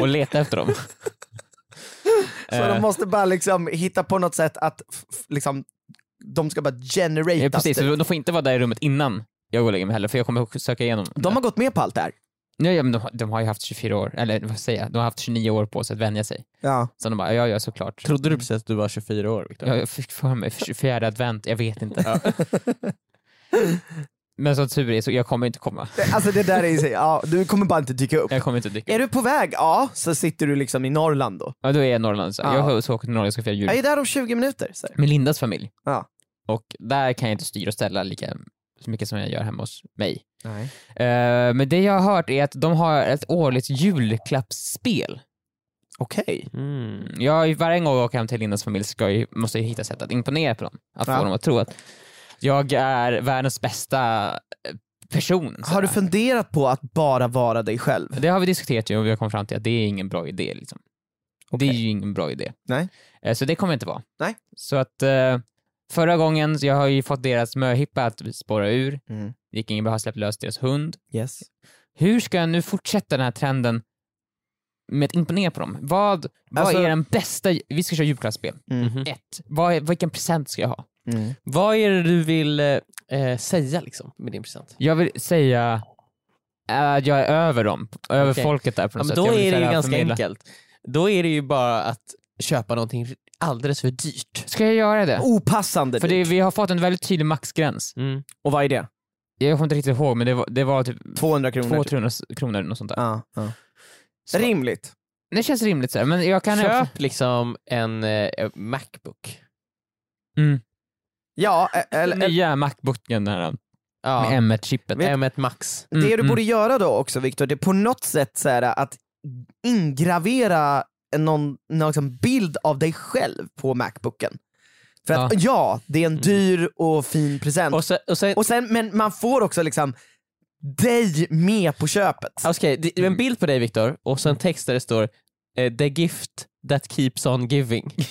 E: och leta efter dem.
D: Så
E: Eh.
D: de måste bara liksom hitta på något sätt att f- f- liksom, de ska bara generate
E: Eh, precis,
B: typ.
E: så de får inte vara där i rummet innan jag går och lägger mig heller för jag kommer att söka igenom.
D: De har gått med på allt det här.
E: Ja, ja, men de, har- de har ju haft 24 år, eller vad säger jag, de har haft 29 år på sig att vänja sig.
D: Ja.
E: Så de bara, ja ja såklart.
B: Trodde du precis att du var 24 år Victor?
E: Mm. Ja, Jag fick för mig 24 advent, jag vet inte. Men som tur är så jag kommer inte komma.
D: Det- Alltså det där är ju, så- ja, du kommer bara inte dyka upp.
E: Jag kommer inte dyka
D: Är
E: upp.
D: du på väg? Ja, så sitter du liksom i Norrland då.
E: Ja, då är jag i Norrland. Så.
D: Ja.
E: Jag har så åkt till Norrland och ska fira jul
D: Jag är där om 20 minuter. Så. här.
E: med Lindas familj.
D: Ja.
E: Och där kan jag inte styra och ställa lika så mycket som jag gör hemma hos mig.
D: Nej.
E: Eh, men det jag har hört är att de har ett årligt julklappsspel.
D: Okej.
B: Mm.
E: Jag, varje gång jag åker hem till Lindas familj ska jag, måste jag hitta sätt att imponera på dem. Att
D: Ja.
E: få dem att tro att jag är världens bästa eh, person.
D: Har du
E: sådär.
D: funderat på att bara vara dig själv?
E: Det har vi diskuterat ju och vi har kommit fram till att det är ingen bra idé. Liksom. Det är ju ingen bra idé.
D: Nej.
E: Eh, Så det kommer inte vara.
D: Nej.
E: Så att eh, förra gången, så jag har ju fått deras möhippa att spåra ur.
D: Mm.
E: Det gick ingen bra, har släppt lös deras hund.
D: Yes.
E: Hur ska jag nu fortsätta den här trenden med att imponera på dem? Vad, vad
D: Alltså-
E: är den bästa, vi ska köra julklappsspel.
D: Mhm.
B: Mm.
E: Ett, vad är, vilken present ska jag ha?
D: Mm.
B: Vad är det du vill eh, eh, säga liksom med din present?
E: Jag vill säga att jag är över dem, över
B: Okej.
E: folket där
B: Ja,
E: på något
B: men
E: sätt.
B: då
E: Alltså, Jag vill
B: är det ju
E: säga,
B: ganska
E: förmedla.
B: enkelt. Då är det ju bara att köpa någonting alldeles för dyrt.
E: Ska jag göra det?
D: Opassande.
E: För det, vi har fått en väldigt tydlig maxgräns.
D: Och vad är det?
E: Jag kommer inte riktigt ihåg men det var, det var typ
D: 200 kronor.
E: 200 kronor något sånt där.
D: Ja, ja.
E: Så.
D: Rimligt.
E: Det känns rimligt så här, men jag kan...
B: Köp liksom en eh, Macbook.
E: Mm.
D: Ja, e- eller,
E: Den nya Macbooken den här,
B: Ja.
E: med M1-chippet.
B: M1 Max.
E: Mm,
D: Det du
E: mm.
D: borde göra då också Viktor, det är på något sätt så här, att ingravera en- någon, någon liksom bild av dig själv på Macbooken. För att ja, det
E: Mm.
D: är en dyr och fin present. Och,
B: Och så, Mm. och sen,
D: sen, men man får också liksom dig med på köpet.
E: Alltså,
B: Okej, det- en bild på dig Viktor och sen text där det står eh, “The gift that keeps on giving”.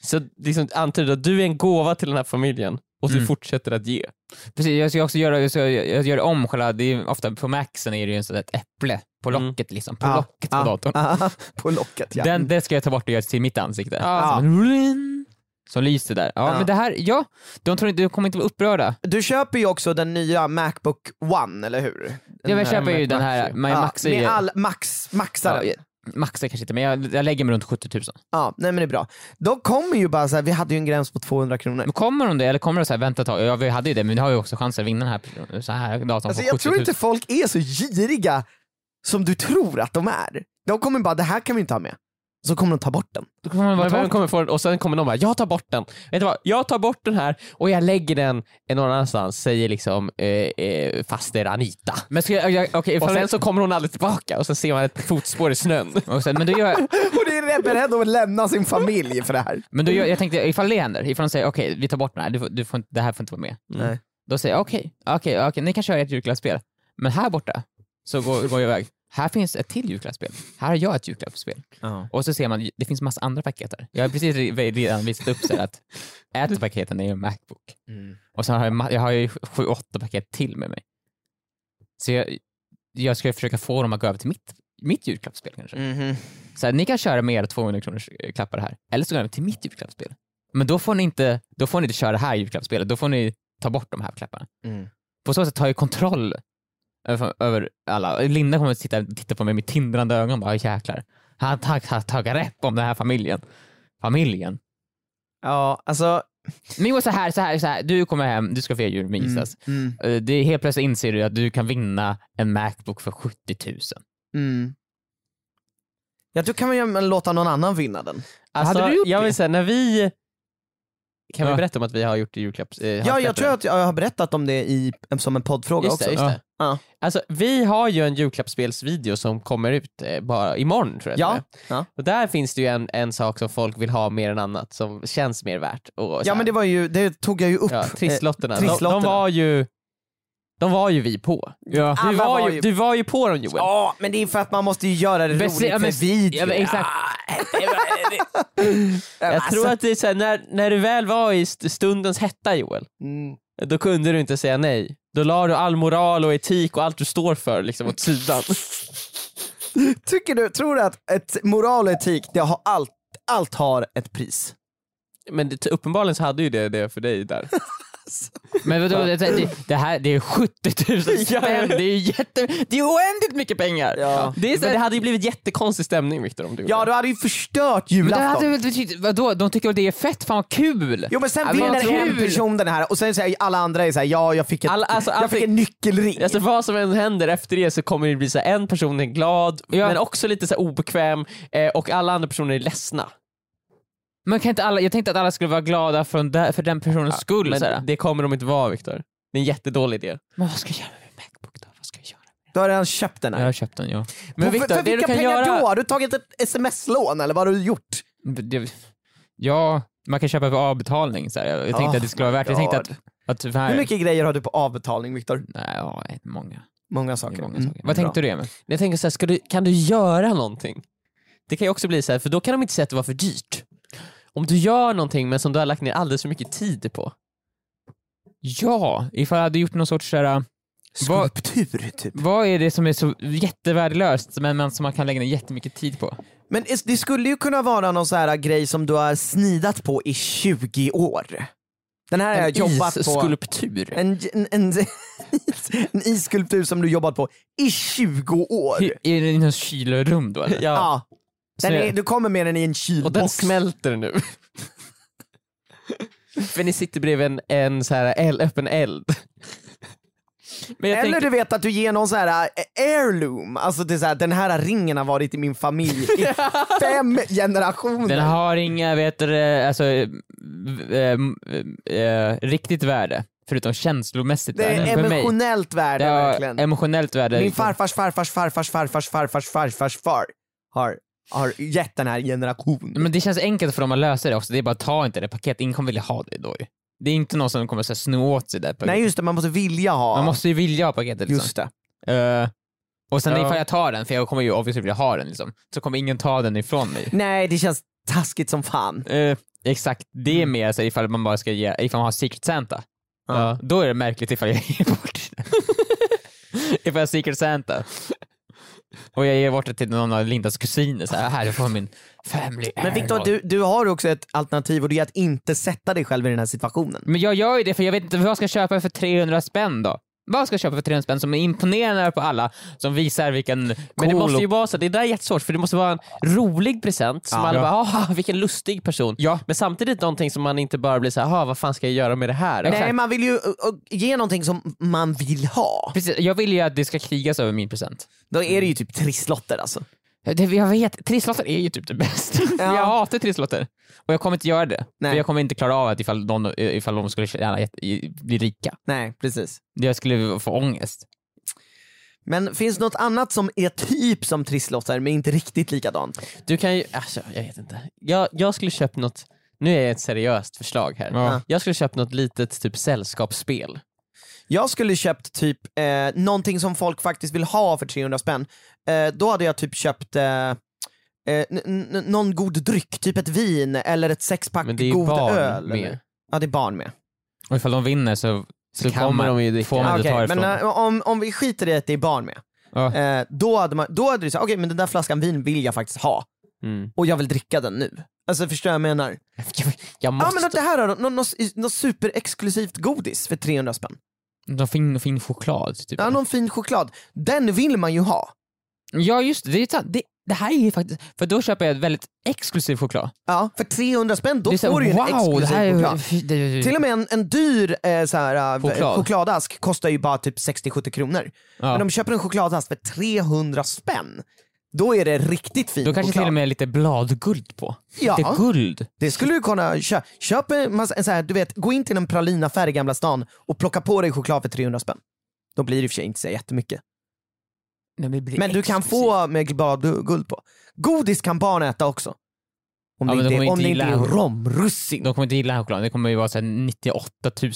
B: så liksom antyder att du är en gåva till den här familjen och du
E: Mm.
B: fortsätter att ge.
E: Precis, jag ska också göra jag ska, jag gör om själva, det är ju ofta på Maxen är det ju en sån där ett äpple på
B: Mm.
E: locket liksom, på
D: Ja,
E: locket på
D: ja,
E: datorn.
D: Ah, på locket ja.
E: Den, det ska jag ta bort och göra till mitt ansikte.
D: Ja.
E: Som, en- som lyser där. Ja,
D: Ja.
E: men det här, ja, de, tror inte, de kommer inte vara upprörda.
D: Du köper ju också den nya Macbook One, eller hur?
E: Jag vill
D: Den här-
E: köpa ju den här, men
D: Ja,
E: Max är ju-
D: med all, max, maxaren.
E: Ja, Max är kanske inte, men jag, jag lägger mig runt 70 000.
D: Ja, nej men det är bra. De kommer ju bara så här, vi hade ju en gräns på 200 kronor.
E: Men kommer de det eller kommer de så här, vänta ett tag, ja, vi hade ju det men vi har ju också chans att vinna den här, så här datorn
D: Alltså,
E: på
D: jag
E: 70
D: tror
E: 000.
D: inte folk är så giriga som du tror att de är. De kommer bara, det här kan vi inte ha med. Så kommer de ta bort den.
E: Då kommer man
B: Man
E: bara ta-
B: tar- kommer få, och sen kommer någon bara “jag tar bort den”. Vet du vad? Jag tar bort den här och jag lägger den någon annanstans, säger liksom eh, eh, faster Anita.
E: Men ska jag, jag, okej,
B: Och
E: ifall-
B: sen så kommer hon aldrig tillbaka och sen ser man ett fotspår i snön.
E: och sen, men då gör, jag-
D: Och det är beredd att lämna sin familj för det här.
E: men då gör, jag tänkte ifall det händer, ifall de säger okej vi tar bort den här, du, får- du får, inte- det här får inte vara med.
D: Nej.
E: Då säger jag okej, okej, okej, ni kan köra ert julklappsspel, men här borta så går, går jag iväg. Här finns ett till julklappsspel. Här har jag ett julklappsspel.
D: Ja.
E: Och så ser man, det finns massa andra paket där. Jag har precis re- redan visat upp så här att ett av paketen är ju en Macbook.
D: Mm.
E: Och sen har jag, ma- jag har ju sju, åtta paket till med mig. Så jag, jag ska ju försöka få dem att gå över till mitt, mitt julklappsspel kanske.
D: Mm. Mm-hmm.
E: Så här, ni kan köra med era 200 kronors eh, klappar här, eller så går ni till mitt julklappsspel. Men då får ni inte, då får ni inte köra det här julklappsspelet, då får ni ta bort de här klapparna.
D: Mm.
E: På så sätt tar jag kontroll över, över alla. Linda kommer att titta, titta på mig med tindrande ögon och bara jäklar, han har tag, tag, grepp om den här familjen. Familjen.
D: Ja, alltså...
E: Men jo, så här, så här, så här. du kommer hem, du ska fira jul med Isas.
D: Mm,
E: Eh, Det är helt plötsligt inser du att du kan vinna en Macbook för 70 000.
D: mm. Ja, då kan man ju låta någon annan vinna den.
B: Alltså,
E: Hade du gjort
B: jag
E: det?
B: vill säga, när vi Kan vi
E: Ja.
B: berätta om att vi har gjort julklapps... Eh,
D: Ja, jag
B: julklappar?
D: tror att jag har berättat om det i, som en poddfråga
B: Just
D: också.
B: det, just det.
D: Ja.
B: Alltså, vi har ju en julklappsspelsvideo som kommer ut eh, bara imorgon tror jag
D: Ja.
B: det är.
D: Ja.
B: Och där finns det ju en, en sak som folk vill ha mer än annat som känns mer värt. Och, så
D: ja,
B: här.
D: men det var ju, det tog jag ju upp.
B: Ja, trisslotterna.
D: Eh,
B: De, de,
D: trisslotterna.
B: var ju, de var ju vi på.
E: Ja.
B: Du
D: Alla
B: var
D: var
B: ju,
D: ju-
B: du var ju på dem Joel.
D: Eh, Ja, men det är för att man måste ju göra det
B: Men se-
D: roligt
B: ja, men-
D: med video.
B: ja, men exakt.
D: Jag
B: Jag tror att det är så här, när, när du väl var i st- stundens hetta Joel,
D: Mm.
B: då kunde du inte säga nej. Då la du all moral och etik och allt du står för liksom åt sidan.
D: Tycker du, tror du att ett moral och etik, det har allt, allt har ett pris?
B: Men det, uppenbarligen så hade ju det det för dig där.
E: Men vadå, det, det, det här det är 70 000 spänn, det är ju jätte, det är oändligt mycket pengar!
D: Ja.
E: Det är så
B: Men
E: här,
B: det hade ju blivit jättekonstig stämning Viktor om du gjorde
D: Ja, du hade ju förstört
E: men det hade
D: julafton.
E: väl betytt, vadå, de tycker att det är fett, fan vad kul!
D: Jo men sen
E: Ja, men
D: vinner
E: vad
D: en
E: kul.
D: person den här och sen säger alla andra är så här, ja jag fick, ett,
B: Alla- alltså,
D: jag fick
B: allting-
D: en nyckelring.
B: det. Alltså vad som än händer efter det så kommer det bli så här, en person är glad
E: Ja.
B: men också lite så här obekväm eh, och alla andra personer är ledsna.
E: Men kan inte alla, jag tänkte att alla skulle vara glada för, den- för den personens skull.
B: Men
E: så här.
B: det kommer de inte vara Viktor. Det är en jättedålig idé.
E: men vad ska jag göra med min Macbook då? Vad ska jag göra?
D: Du har redan köpt den
E: Jag
D: här.
E: har köpt den, ja.
B: Men
D: Och för,
B: Viktor,
D: för
B: det du
D: vilka
B: kan
D: pengar
B: göra...
D: då? Har du tagit ett sms-lån eller vad har du gjort?
E: Det, ja, man kan köpa på avbetalning. Så här. Jag tänkte
D: Oh
E: att det skulle vara värt det. Jag tänkte
D: God.
E: att, att för här,
D: Hur mycket grejer har du på avbetalning Viktor?
E: Nej, ja, många.
D: Många
E: Det
D: saker.
E: är många
D: Mm.
E: saker. Vad
D: Bra.
E: tänkte du Emil?
B: Jag tänker så här, ska du, kan du göra någonting? Det kan ju också bli så här, för då kan de inte säga att det var för dyrt. Om du gör någonting men som du har lagt ner alldeles för mycket tid på.
E: Ja, ifall jag hade gjort någon sorts så här, vad,
D: Skulptur typ.
E: vad är det som är så jättevärdelöst men, men som man kan lägga ner jättemycket tid på?
D: Men is- det skulle ju kunna vara någon så här grej som du har snidat på i 20 år. Den här har jag jobbat på.
B: isskulptur.
D: En, en, en, en isskulptur som du jobbat på i 20 år.
E: Hur- Är det i något kylrum då eller?
B: Ja.
D: Ja. Den är, du kommer med den i en kylbox.
B: Och den smälter nu. För ni sitter bredvid en, en så här el, öppen eld.
E: Men jag
D: Eller
E: tänker,
D: du vet att du ger någon så här eh, heirloom, alltså det är så här, den här ringen har varit i min familj i fem generationer.
E: den har inga, vet du, det, alltså, eh, eh, eh, riktigt värde. Förutom känslomässigt
D: det
E: värde.
D: är
E: För mig. liksom.
D: emotionellt värde
E: Det har
D: verkligen.
E: emotionellt värde.
D: Min farfars farfars farfars farfars farfars farfars far har, har gett den här generationen.
E: Men det känns enkelt för dem att lösa det också. Det är bara ta inte det paketet. Ingen kommer vilja ha det då ju. Det är inte någon som kommer så här, sno åt sig det paketet.
D: Nej just det, man måste vilja ha.
E: Man måste ju vilja ha paketet liksom.
D: Just det.
E: Eh, och sen
B: Ja.
E: ifall jag tar den, för jag kommer ju obviously vilja ha den liksom, så kommer ingen ta den ifrån mig.
D: Nej det känns taskigt som fan.
E: Eh, exakt, det är mer så ifall man bara ska ge, ifall man har Secret Santa.
B: Ja.
E: Då är det märkligt ifall jag ger bort den. ifall jag har Secret Santa. Och jag ger bort det till någon av Lindas kusiner, så här, här du får min family
D: Men Viktor,
E: heirloom."
D: du, du har också ett alternativ och det är att inte sätta dig själv i den här situationen.
E: Men jag gör ju det för jag vet inte vad jag ska köpa för 300 spänn då. Vad ska jag köpa för 300 spänn som är imponerande på alla, som visar vilken
B: Men det
E: cool
B: måste
E: och-
B: ju vara så, det där är jättesvårt för det måste vara en rolig present som
E: Ja.
B: alla
E: Ja.
B: bara “aha, vilken lustig person”.
E: Ja.
B: Men samtidigt någonting som man inte bara blir så här, “aha, vad fan ska jag göra med det här?”
D: Nej man vill ju ö, ö, ge någonting som man vill ha.
E: Precis, jag vill ju att det ska krigas över min present.
D: Då är det ju typ trisslotter alltså.
E: Det, jag vet, trisslotter är ju typ det bästa.
D: Ja.
E: Jag hatar trisslotter. Och jag kommer inte göra det.
D: Nej.
E: För jag kommer inte klara av att ifall de, ifall de skulle tjäna, jätte- i- bli rika.
D: Nej, precis.
E: Jag skulle få ångest.
D: Men finns något annat som är typ som trisslotter men inte riktigt likadant?
B: Du kan ju, alltså, jag vet inte. Jag, jag skulle köpt något, nu är det ett seriöst förslag här.
E: Ja.
B: Jag skulle köpt något litet typ sällskapsspel.
D: Jag skulle köpt typ eh, någonting som folk faktiskt vill ha för 300 spänn. Eh, då hade jag typ köpt eh, eh, n- n- någon god dryck, typ ett vin eller ett sexpack
B: Men det är ju
D: god
B: barn
D: öl.
B: med.
D: Ja det är barn med.
E: Och ifall de vinner så, så,
B: kan
E: kommer
B: man ju dricka.
E: får man inte
D: Okej,
E: ta ifrån.
D: men eh, om, om vi skiter i att det är barn med,
E: Ja.
D: eh, då hade, man, då hade du sagt okej men den där flaskan vin vill jag faktiskt ha
B: Mm.
D: och jag vill dricka den nu. Alltså förstår jag vad jag menar?
B: Jag, jag
D: Ja
B: måste...
D: men att det här är något, något, något superexklusivt godis för 300 spänn.
E: Någon fin, fin choklad. Typ.
D: Ja, någon fin choklad. Den vill man ju ha.
E: Ja just det, det, är sant. det, det här är ju faktiskt, för då köper jag ett väldigt exklusiv choklad.
D: Ja, för 300 spänn då
E: det är så
D: får du ju
E: här,
D: en
E: wow, det här
D: exklusiv choklad.
E: är... Det, det,
D: Till och med en, en dyr eh, så här, eh,
E: Choklad.
D: chokladask kostar ju bara typ 60-70 kronor.
E: ja.
D: Men de köper en chokladask för 300 spänn. Då är det riktigt fint
E: Då kanske till
D: och klart.
E: och med lite bladguld på.
D: Ja.
E: Lite guld.
D: Det skulle du kunna köpa. Köp en massa, en så här, du vet, gå in till en pralinaffär i Gamla stan och plocka på dig choklad för 300 spänn. Då blir det i och för sig inte så jättemycket.
E: Nej, det blir
D: Men du kan
E: exklusivt.
D: få med glad guld på. Godis kan barn äta också. Om
E: Ja,
D: det
E: men de
D: inte,
E: kommer
D: är-
E: inte
D: om
E: gilla
D: det inte är
E: choklad.
D: romrussin.
E: De kommer inte gilla chokladen. Det kommer ju vara så här 98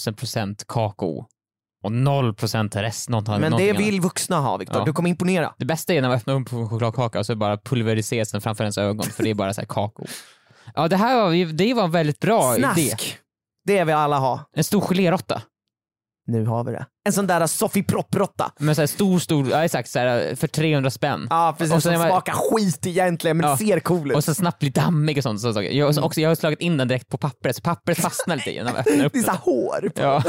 E: 000 procent kakao och 0 procent rest. Något,
D: Men
E: någonting
D: det
E: annat.
D: vill vuxna ha Viktor,
E: Ja.
D: du kommer imponera.
E: Det bästa är när man öppnar upp en chokladkaka och så bara pulveriseras den framför ens ögon för det är bara så här kakao. Ja, det här var, ju- det var en väldigt bra idé.
D: Snask! Det vill alla ha.
E: En stor geléråtta.
D: Nu har vi det. En sån där soffiproppråtta.
E: Men så här stor, stor, ja exakt, så här, eh, för 300 spänn.
D: Ja precis,
E: Och sen
D: som
E: är man-
D: smakar skit egentligen men
E: Ja.
D: ser cool
E: Och
D: ut.
E: så snabbt blir dammig och sånt. sånt saker. Jag, också, jag har slagit in den direkt på pappret, så pappret fastnar lite i den när man öppnar upp
D: Det är
E: den.
D: så här hår.
E: Ja.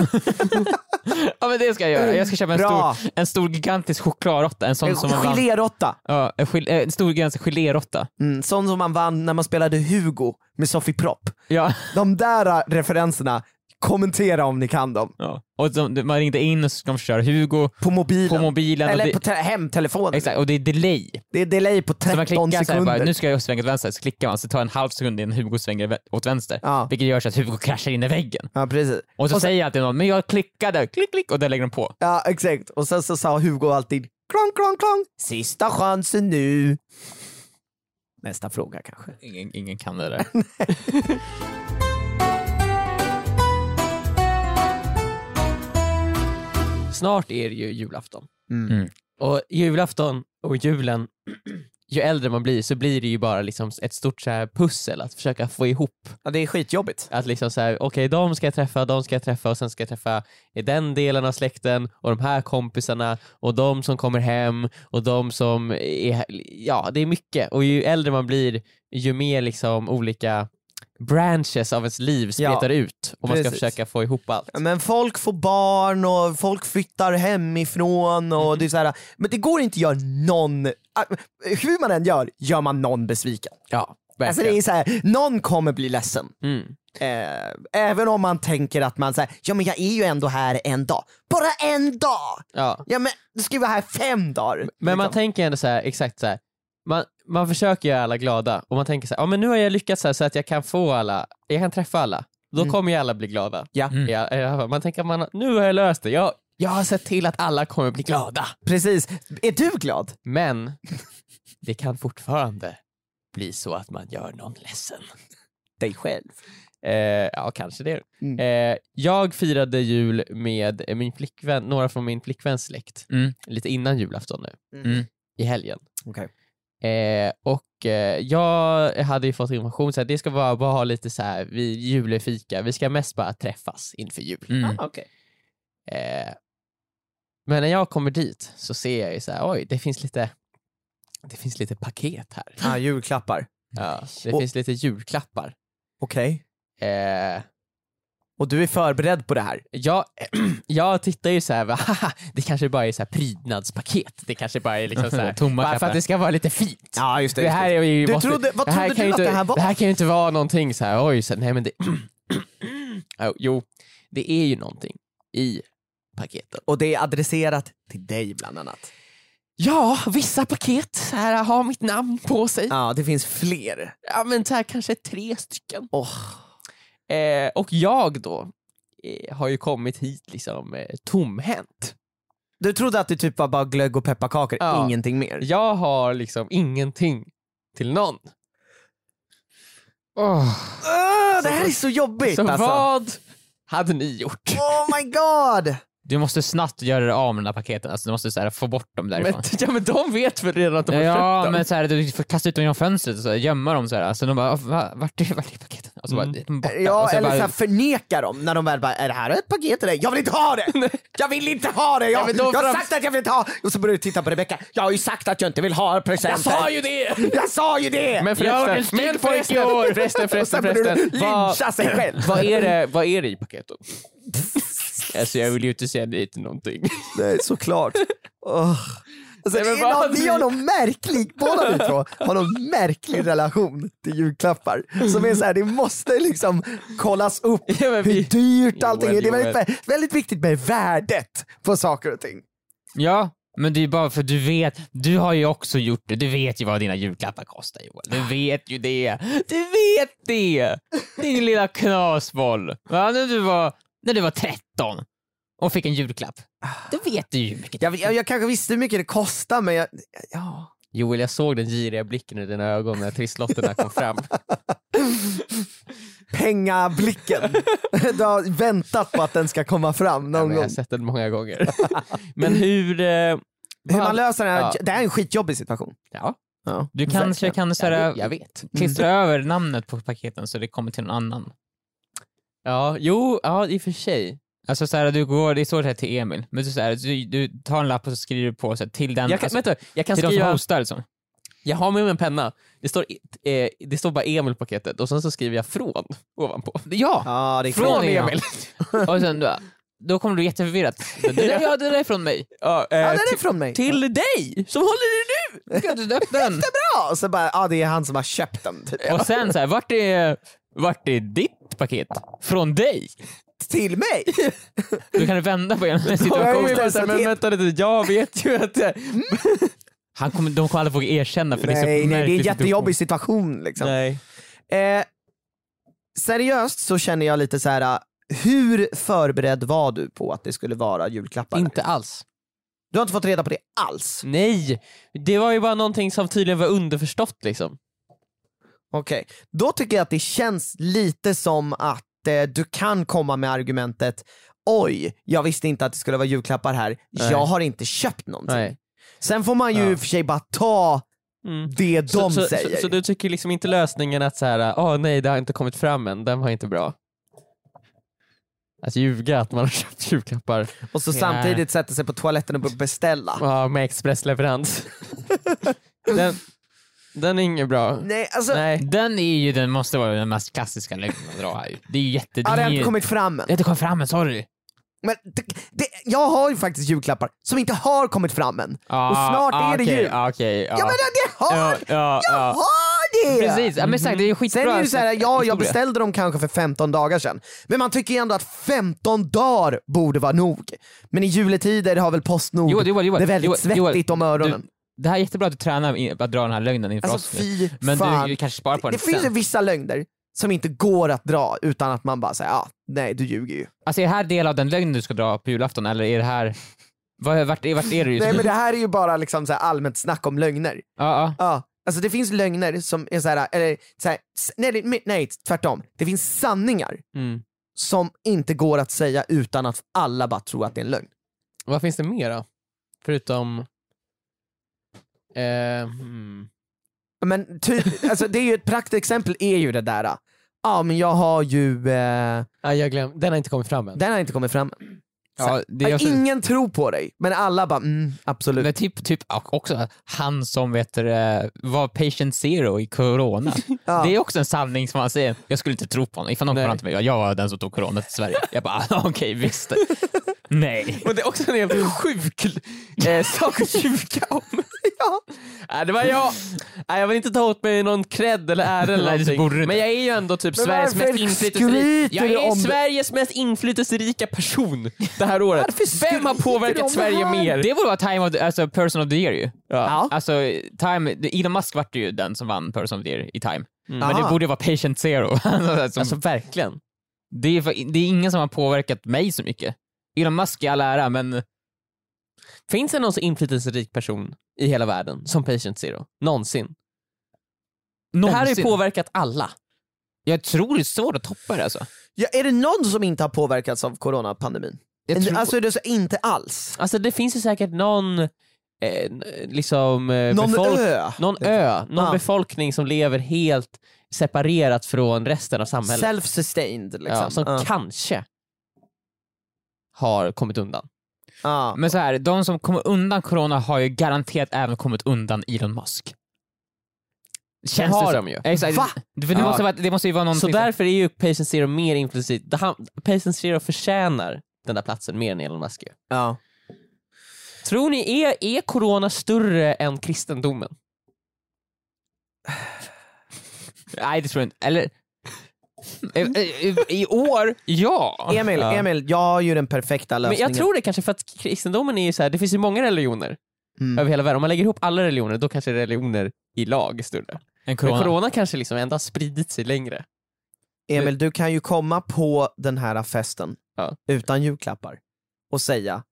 E: ja men det ska jag göra. Jag ska köpa en,
D: Bra.
E: stor, en stor gigantisk chokladråtta. En sån som man vann.
D: Geléråtta.
E: Ja, en, gel- en stor gigantisk geléråtta.
D: Mm, sån som man vann när man spelade Hugo med Sofie Propp.
E: Ja.
D: De där äh, referenserna, kommentera om ni kan dem.
E: Ja. Och de, man ringde in och så ska de köra Hugo
D: På mobilen.
E: på mobilen. och
D: Eller
E: det,
D: på te- hemtelefonen.
E: Exakt, och det är delay.
D: Det är delay på
E: Så man
D: 13
E: klickar så här,
D: sekunder.
E: bara, nu ska jag svänga åt vänster, så klickar man, så tar en halv sekund innan Hugo svänger vä- åt vänster.
D: Ja.
E: Vilket gör så att Hugo kraschar in i väggen.
D: Ja precis.
E: Och så
D: Och så-
E: säger alltid någon, men jag klickade, klick klick, och där lägger de på.
D: Ja exakt. Och sen så sa Hugo alltid klong, klong, klong. Sista chansen nu. Nästa fråga kanske.
E: Ingen, ingen kan det där.
B: Snart är det ju julafton.
D: Mm.
E: Mm.
B: Och julafton och julen, ju äldre man blir så blir det ju bara liksom ett stort så här pussel att försöka få ihop.
D: Ja, det är skitjobbigt.
B: Att liksom så här, okej de ska jag träffa, de ska jag träffa och sen ska jag träffa i den delen av släkten och de här kompisarna och de som kommer hem och de som är, ja det är mycket. Och ju äldre man blir ju mer liksom olika branches av ens liv spretar ut och man ska
D: precis.
B: försöka få ihop allt.
D: Men folk får barn och folk flyttar hemifrån och det är så här, men det går inte att göra någon, ah, hur man än gör, gör man någon besviken.
B: Ja,
D: Alltså det är så här, någon kommer bli ledsen.
B: Mm.
D: Eh, även om man tänker att man säger, ja men jag är ju ändå här en dag. Bara en dag!
B: Ja.
D: Ja men du ska ju vara här fem dagar.
B: Men man
D: liksom.
B: tänker ändå så här, exakt så här. Man, man försöker göra alla glada och man tänker så här, ja men nu har jag lyckats så, här, så att jag kan få alla, jag kan träffa alla. Då
D: Mm.
B: kommer ju alla bli glada.
D: Ja.
E: Mm.
B: Ja, ja, man tänker, man, nu har jag löst det. Jag, jag har sett till att alla kommer bli glada.
D: Precis, är du glad?
B: Men det kan fortfarande bli så att man gör någon ledsen.
D: Dig själv.
B: Eh, ja, kanske det.
D: Mm.
B: Eh, jag firade jul med eh, min flickvän, några från min flickväns släkt,
E: Mm.
B: lite innan julafton nu,
D: Mm.
E: Mm.
B: i helgen.
D: Okej.
B: Eh, och eh, jag hade ju fått information så här, det ska vara bara ha lite så här vid julefika, vi ska mest bara träffas inför jul.
E: Mm.
D: Okej.
B: Eh, men när jag kommer dit så ser jag ju så här, oj det finns lite det finns lite paket här.
D: Ah, julklappar.
B: Ja, det
D: Och-
B: finns lite julklappar.
D: Okej.
B: Eh,
D: Och du är förberedd på det här?
B: jag, jag tittar ju så här, va, haha, det kanske bara är så här prydnadspaket. Det kanske bara är liksom så här,
E: Tomma
B: bara för
E: klappar.
B: att det ska vara lite fint.
D: Ja just
B: Det här är ju,
D: Du
B: måste,
D: trodde- vad
B: det här
D: trodde
B: kan
D: du
B: ju
D: att
B: inte,
D: det här var?
B: Det här kan ju inte vara någonting så här, oj, så, nej men det... Jo, jo, det är ju någonting i paketen.
D: Och det är adresserat till dig bland annat.
B: Ja, vissa paket så här, har mitt namn på sig. Ja,
D: Ja, det finns fler.
B: men så här kanske tre stycken.
D: Oh.
B: Eh, och jag då eh, har ju kommit hit liksom eh, tomhänt.
D: Du trodde att det typ var bara glögg och pepparkakor,
B: Ja.
D: ingenting mer?
B: Jag har liksom ingenting till någon.
D: Öh, det här är så jobbigt
B: Så
D: alltså!
B: vad hade ni gjort?
D: Oh my god!
E: Du måste snabbt göra dig av med de där paketen, alltså, du måste så här, få bort dem därifrån.
B: Men, ja men de vet väl redan att de har köpt
E: Ja
B: dem?
E: men såhär, du får kasta ut dem genom fönstret och så här, gömma dem såhär. Så de bara, "Va? vart är, vart är paketen? Och så bara,
B: Mm.
E: de är borta.
D: Ja,
E: och så
D: eller
E: bara,
D: så här, förneka dem när de väl bara “är det här ett paket till dig?” “Jag vill inte ha det! Jag vill inte ha det!
B: Ja,
D: Jag,
B: men då
D: jag har
B: fram-
D: sagt att jag vill inte ha!” Och så börjar du titta på Rebecca “Jag har ju sagt att jag inte vill ha presenter!”
B: Jag sa ju det!
D: Jag sa ju det!
B: Men
E: Jag är en
B: förresten,
E: snygg
B: men
E: pojke i
B: förresten,
E: år.
B: förresten,
D: Och
B: förresten,
D: sen börjar du
B: förresten. Vad,
D: lyncha sig själv!
B: vad, är det, vad är det i paketet? alltså jag vill ju inte säga nej till någonting.
D: Nej, såklart. Oh. Alltså,
B: Nej, men
D: det är
B: vad
D: någon,
B: hade
D: ni
B: du-
D: har någon märklig, båda ni två har någon märklig relation till julklappar. Som är såhär, det måste liksom kollas upp
B: Ja, men
D: hur
B: vi-
D: dyrt allting är.
B: Joel,
D: Det är väldigt, väldigt viktigt med värdet på saker och ting.
E: ja, Men det är ju bara för du vet, du har ju också gjort det. Du vet ju vad dina julklappar kostar Joel. Du vet ju det. Du vet det! Din lilla knasboll. Va? När, du var, när du var 13 och fick en julklapp. Du vet du ju hur mycket.
D: Jag, jag, jag kanske visste hur mycket det kostar men jag, ja.
B: Joel, jag såg den giriga blicken i dina ögon när trisslotterna kom fram.
D: Pengablicken. du har väntat på att den ska komma fram
B: Ja,
D: någon
B: men jag
D: gång.
B: har sett den många gånger. Men hur... Eh,
D: Hur
B: vad-
D: man löser den här,
B: Ja.
D: det här är en skitjobbig situation.
B: ja,
D: Ja.
E: Du kanske
D: Verkligen.
E: kan
B: jag,
E: såhär,
B: vet- jag vet.
E: klistra över namnet på paketen så det kommer till någon annan.
B: Ja, jo, ja, i och för sig.
E: Alltså såhär, du går, det står så här till Emil, men du, såhär, du, du tar en lapp och så skriver du på så här, till den,
B: Jag kan,
E: alltså,
B: vänta, jag kan
E: till de som
B: skriva...
E: hostar liksom.
B: Jag har med mig en penna. Det står, i- eh, det står bara Emil på paketet och sen så skriver jag från ovanpå.
E: Ja!
D: Ja, det är
E: Från
D: klart.
E: Emil. Och sen då, då kommer du jätteförvirrat. Det där, ja, det där är från mig.
B: Ja, eh,
D: Ja,
E: Alltså,
D: den är
B: till,
D: från mig.
B: till dig som håller det nu!
E: Ska du öppna den?
D: Ja, så bara, ja, det är han som har köpt den. Typ.
E: Och sen så här, vart är, vart är ditt paket? Från dig?
D: Till mig!
E: Du kan vända på hela den här
B: Jag
E: situationen.
B: vill vänta, men vänta lite, jag vet ju att... jag-
E: Han kommer, de kommer aldrig våga erkänna för det är så
D: nej, nej, det är en
E: märklig
D: jättejobbig situation. Liksom.
B: Nej.
D: Eh, seriöst så känner jag lite så här. eh, hur förberedd var du på att det skulle vara julklappar?
B: Inte alls.
D: Du har inte fått reda på det alls?
B: Nej, det var ju bara någonting som tydligen var underförstått liksom.
D: Okej, då tycker jag att det känns lite som att eh, du kan komma med argumentet Oj, jag visste inte att det skulle vara julklappar här.
B: Nej.
D: Jag har inte köpt någonting.
B: Nej.
D: Sen får man ju
B: Ja.
D: i och för sig bara ta
B: Mm.
D: det de
B: så, så,
D: säger.
B: Så, så du tycker liksom inte lösningen att så här, åh nej det har inte kommit fram än, den var inte bra. Att ljuga att man har köpt julklappar
D: Och så
E: Ja.
D: samtidigt sätta sig på toaletten och beställa.
B: ja, med expressleverans. den, den är inget bra.
D: Nej, alltså,
B: Nej.
E: Den är ju, den måste vara den mest klassiska lögnen att dra här. Det är ju jätte...
D: ja, det har
E: är
D: inte
E: ju-
D: kommit fram än.
E: det har inte kommit fram än, sorry.
D: Men det, det, jag har ju faktiskt julklappar som inte har kommit fram än. och
E: Ah,
D: snart
E: ah,
D: är det
E: okej,
D: jul.
E: ah, Okej,
D: Ja
E: ah.
D: men det har,
E: ja, ja,
D: jag
E: ja.
D: har det!
E: Precis, ja, men exakt, det är ju skitbra.
D: Sen är det så här, ja
E: historia.
D: jag beställde dem kanske för 15 dagar sedan. Men man tycker ju ändå att 15 dagar borde vara nog. Men i juletider har väl Postnord
E: Joel, Joel, Joel,
D: det är väldigt
E: Joel,
D: svettigt
E: Joel,
D: om öronen.
E: Du, det här är jättebra att du tränar in, att dra den här lögnen inför
D: alltså
E: oss nu.
D: fy
E: Men
D: fan.
E: du kanske sparar på den
D: det finns ju
E: sen.
D: vissa lögner som inte går att dra utan att man bara säger ah, nej du ljuger ju.
E: Alltså är det här del av den lögn du ska dra på julafton eller är det här... Vad- Vart, är- vart är du just
D: Nej
E: nu?
D: men det här är ju bara liksom så här allmänt snack om lögner.
E: Ja, ja.
D: Ja, alltså det finns lögner som är såhär, eller såhär, s- nej, det- nej tvärtom. Det finns sanningar
B: Mm.
D: som inte går att säga utan att alla bara tror att det är en lögn.
B: Vad finns det mer då? Förutom... Eh, hmm.
D: Men typ, alltså det är ju ett praktexempel är ju det där, ja ah, men jag har ju, eh,
B: Nej, jag glöm, den har inte kommit fram än.
D: den har inte kommit fram.
E: ja det är också,
B: alltså-
D: Ingen tror på dig, men alla bara mm, absolut.
E: men typ, typ också han som vet, du det, var patient zero i corona.
D: Ja.
E: Det är också en sanning som han säger, jag skulle inte tro på honom. Ifall någon
B: Nej.
E: kommer fram till mig, jag var den som tog corona till Sverige. Jag bara, okej visst. Nej.
B: Men det är också en helt sjuk eh, sak att ljuga om. ja. Nej, det var jag. Nej, jag vill inte ta åt mig någon cred eller ära eller
E: Nej, det borde du
B: någonting.
E: inte.
B: Men jag är ju ändå typ
D: Men
B: Sveriges
D: varför
B: mest inflytelserika.
D: skryter
B: Jag
D: du
B: är
D: om det?
B: Sveriges mest inflytelserika person det här året. Vem har
D: skryter du om
B: påverkat
D: det
B: Sverige
D: här?
B: mer?
E: Det borde vara time of the, alltså person of the year ju.
D: Ja.
E: Alltså, time, Elon Musk vart ju den som vann person of the year i time.
B: Mm,
E: Men
D: Aha.
E: det borde vara patient zero. som,
B: Alltså verkligen.
E: det, är, fa- det är ingen som har påverkat mig så mycket. Elon Musk i all ära, men
B: Finns det någon så inflytelserik person i hela världen som Patient Zero? Någonsin? Det här har ju
E: någonsin.
B: påverkat alla.
E: jag tror det är svårt att toppa det alltså.
D: Ja, är det någon som inte har påverkats av coronapandemin?
E: Jag tror,
D: Alltså är det så, inte alls?
B: Alltså det finns ju säkert någon eh, n- liksom eh,
D: Någon
B: befolk-
D: ö?
B: Någon ö, någon
D: Ja.
B: befolkning som lever helt separerat från resten av samhället.
D: Self-sustained liksom.
B: ja, som
D: Ja.
B: kanske har kommit undan.
D: Ja.
E: men så här, de som kommer undan corona har ju garanterat även kommit undan Elon Musk. Känns
B: har
E: så-
B: de ju.
E: Exakt.
D: Va?
E: Det, för det,
B: Ja.
E: måste vara, det måste ju vara någonting...
B: Så
E: som-
B: därför är ju Patient Zero mer implicit. Han- Patient Zero förtjänar den där platsen mer än Elon Musk ju.
D: Ja.
B: Tror ni, är, är corona större än kristendomen?
E: Nej, det tror jag inte. Eller... I, i, I år, ja.
D: Emil,
B: Ah. Ja.
D: Emil, jag har ju den perfekta
B: Men
D: lösningen.
B: jag tror det kanske för att kristendomen är ju så här, det finns ju många religioner
D: Mm.
B: över hela världen. Om man lägger ihop alla religioner, då kanske religioner i lag är större.
E: En
B: Corona. Men corona kanske liksom ändå har spridit sig längre.
D: Emil, du kan ju komma på den här festen
B: Ja.
D: utan julklappar och säga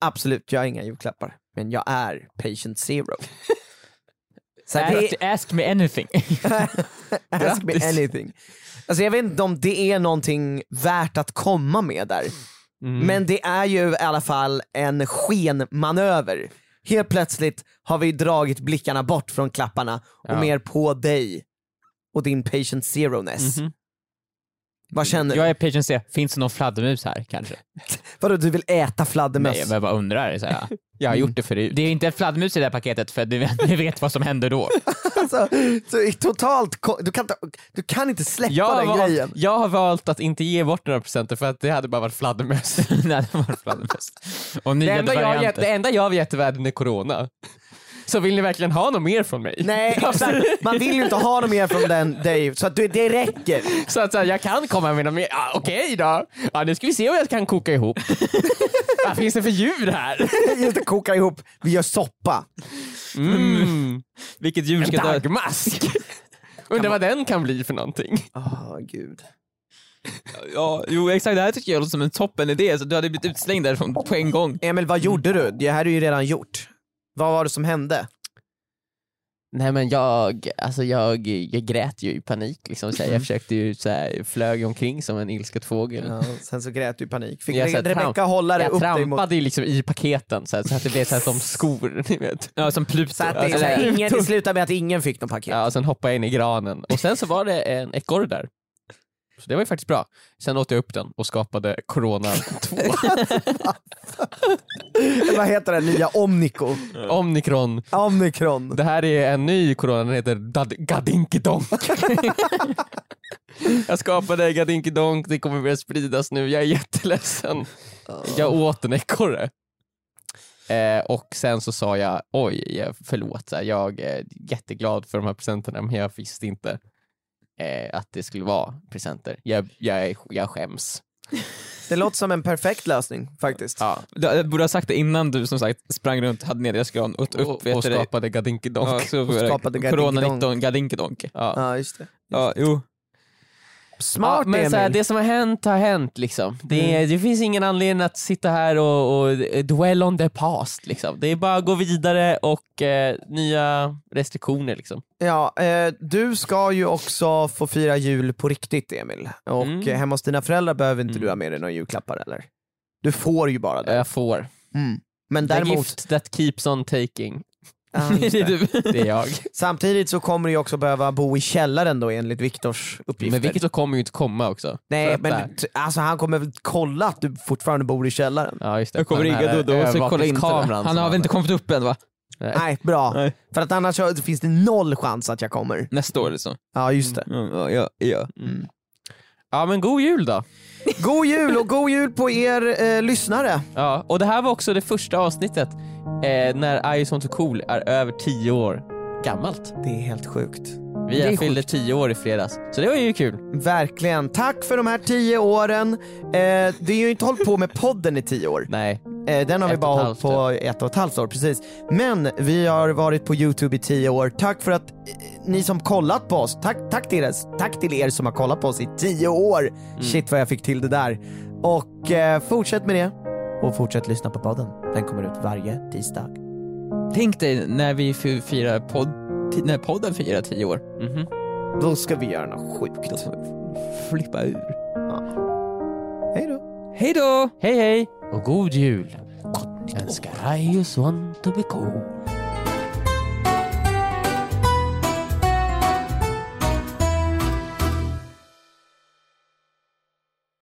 D: absolut, jag har inga julklappar, men jag är patient zero. Så här, det,
E: Ask, ask me anything.
D: ask me
B: Grattis.
D: anything. Alltså jag vet inte om det är någonting värt att komma med där,
B: Mm.
D: men det är ju i alla fall en skenmanöver. Helt plötsligt har vi dragit blickarna bort från klapparna och
B: Ja.
D: mer på dig och din patient zero-ness.
B: Mhm.
D: Vad känner du?
E: jag är patient C, finns det någon fladdermus här kanske?
D: Vadå du vill äta fladdermöss?
E: Nej, jag bara undrar. Så här.
B: Jag har gjort det förut.
E: Det är inte en fladdermus i det här paketet för ni vet, ni vet vad som händer då.
D: Alltså, så i totalt, ko- du kan, inte- du kan inte släppa
B: Jag har,
D: den
B: valt,
D: grejen.
B: jag har valt att inte ge bort några presenter för att det hade bara varit fladdermöss.
E: Nej, det var en fladdermus. Och
B: Det
E: nya
B: enda, jag har gett,
E: varianter.
B: det enda jag har gett i världen är corona. Så vill ni verkligen ha något mer från mig? Alltså,
D: Nej exakt, man vill ju inte ha dem igen från den Dave, så att du, det räcker.
B: Så att så här, jag kan komma med något mer. Ah, Okej då. Ja, nu ska vi se vad jag kan koka ihop. Vad finns det för djur här?
D: Just det, koka ihop, vi gör soppa.
B: Mm.
E: Vilket djur
B: En
E: ska dö?
B: dagmask. Undrar vad den kan bli för någonting. Ah,
D: Åh gud.
E: Ja, jo exakt, det här tycker jag låter som en toppen idé. Så du hade blivit utslängd därifrån på en gång.
D: Emil vad gjorde du? Det här är ju redan gjort. Vad var det som hände?
B: Nej men jag, alltså jag, jag grät ju i panik liksom. Så här,
E: Mm.
B: jag försökte ju så här, flög omkring som en ilsket fågel.
D: Ja, sen så grät du i panik. Fick
B: Jag
D: Re-
B: sa,
D: Rebecka
B: tramp-
D: hålla dig
B: Jag
D: upp dig mot...
B: trampade ju liksom i paketen så, här, så att det blev så här, som skor, ni vet.
E: Ja, som Pluto.
D: Så att det, så här, ingen, det slutade med att ingen fick någon paket.
B: Ja, och sen hoppade jag in i granen och sen så var det en ekorre där. Så det var ju faktiskt bra. Sen åt jag upp den och skapade Corona 2.
D: Vad heter den nya? Omnico?
B: Omnikron.
D: Omnikron.
B: Det här är en ny Corona, den heter Dad- Gadinkidonk. jag skapade Gadinkidonk, det kommer börja spridas nu, jag är jätteledsen. Jag åt en ekorre. Eh, och sen så sa jag, oj, jag- förlåt, så här, jag är jätteglad för de här presenterna men jag visste inte eh, att det skulle vara presenter. Jag, jag, är- jag skäms.
D: Det låter som en perfekt lösning faktiskt.
B: Ja,
E: Du jag borde ha sagt det innan du som sagt sprang runt, hade ner deras gran och åt upp
B: och,
E: vet
B: och
E: du det.
B: skapade Gadinkidonk.
E: Ja, så var det.
D: skapade
E: Corona
D: gadinkedonk.
E: 19, gadinkedonk. Ja.
D: Ja, just det.
E: ja, jo.
D: Smart
B: ja, men
D: Emil.
B: så här, det som har hänt har hänt liksom. Det, det finns ingen anledning att sitta här och, och dwell on the past liksom. Det är bara att gå vidare och eh, nya restriktioner liksom.
D: Ja, eh, du ska ju också få fira jul på riktigt Emil. Och
B: Mm.
D: eh, hemma hos dina föräldrar behöver inte du ha med dig några julklappar eller? Du får ju bara det.
B: Jag får.
D: Mm. Men
B: The
D: däremot,
B: gift that keeps on taking.
D: Ja, just
E: Det är
D: det.
E: du.
B: Det är jag.
D: samtidigt så kommer du ju också behöva bo i källaren då enligt Viktors uppgifter.
B: men vilket då kommer ju inte komma också. För
D: Nej
B: att där-
D: men t- alltså han kommer väl kolla att du fortfarande bor i källaren.
B: Ja, just det.
E: Jag kommer
B: Den
E: ringa
B: här
E: Dodo och så kolla in.
B: övervakningskameran
E: Han
B: som
E: har väl inte kommit upp än va?
D: Nej bra,
E: Nej.
D: för att annars så finns det noll chans att jag kommer.
E: Nästa år liksom.
D: Ja just det.
E: Ja, ja, ja.
B: Ja men god jul då.
D: God jul och god jul på er eh, lyssnare.
B: Ja, och det här var också det första avsnittet eh, när I som too cool är över 10 år gammalt.
D: Det är helt sjukt.
B: Vi
D: Det är
B: fyllde 10 år i fredags, så det var ju kul.
D: Verkligen. Tack för de här tio åren. Eh, det är ju inte hållit på med podden i tio år.
B: Nej,
D: Eh, den har vi
B: Ett
D: bara
B: och ett
D: hållit på ett och ett halvt år, precis. Men vi har varit på Youtube i tio år. Tack för att eh, ni som kollat på oss, tack, tack, till er, tack till er som har kollat på oss i tio år.
B: Mm.
D: Shit vad jag fick till det där. Och eh, fortsätt med det. Och fortsätt lyssna på podden. Den kommer ut varje tisdag.
E: Tänk dig när vi fi- firar podd, ti- när podden firar tio år.
D: Då ska vi göra något sjukt.
E: Flippa ur.
D: Hej då.
E: Hej då!
B: hej hej och god jul önskar I just want to be cool.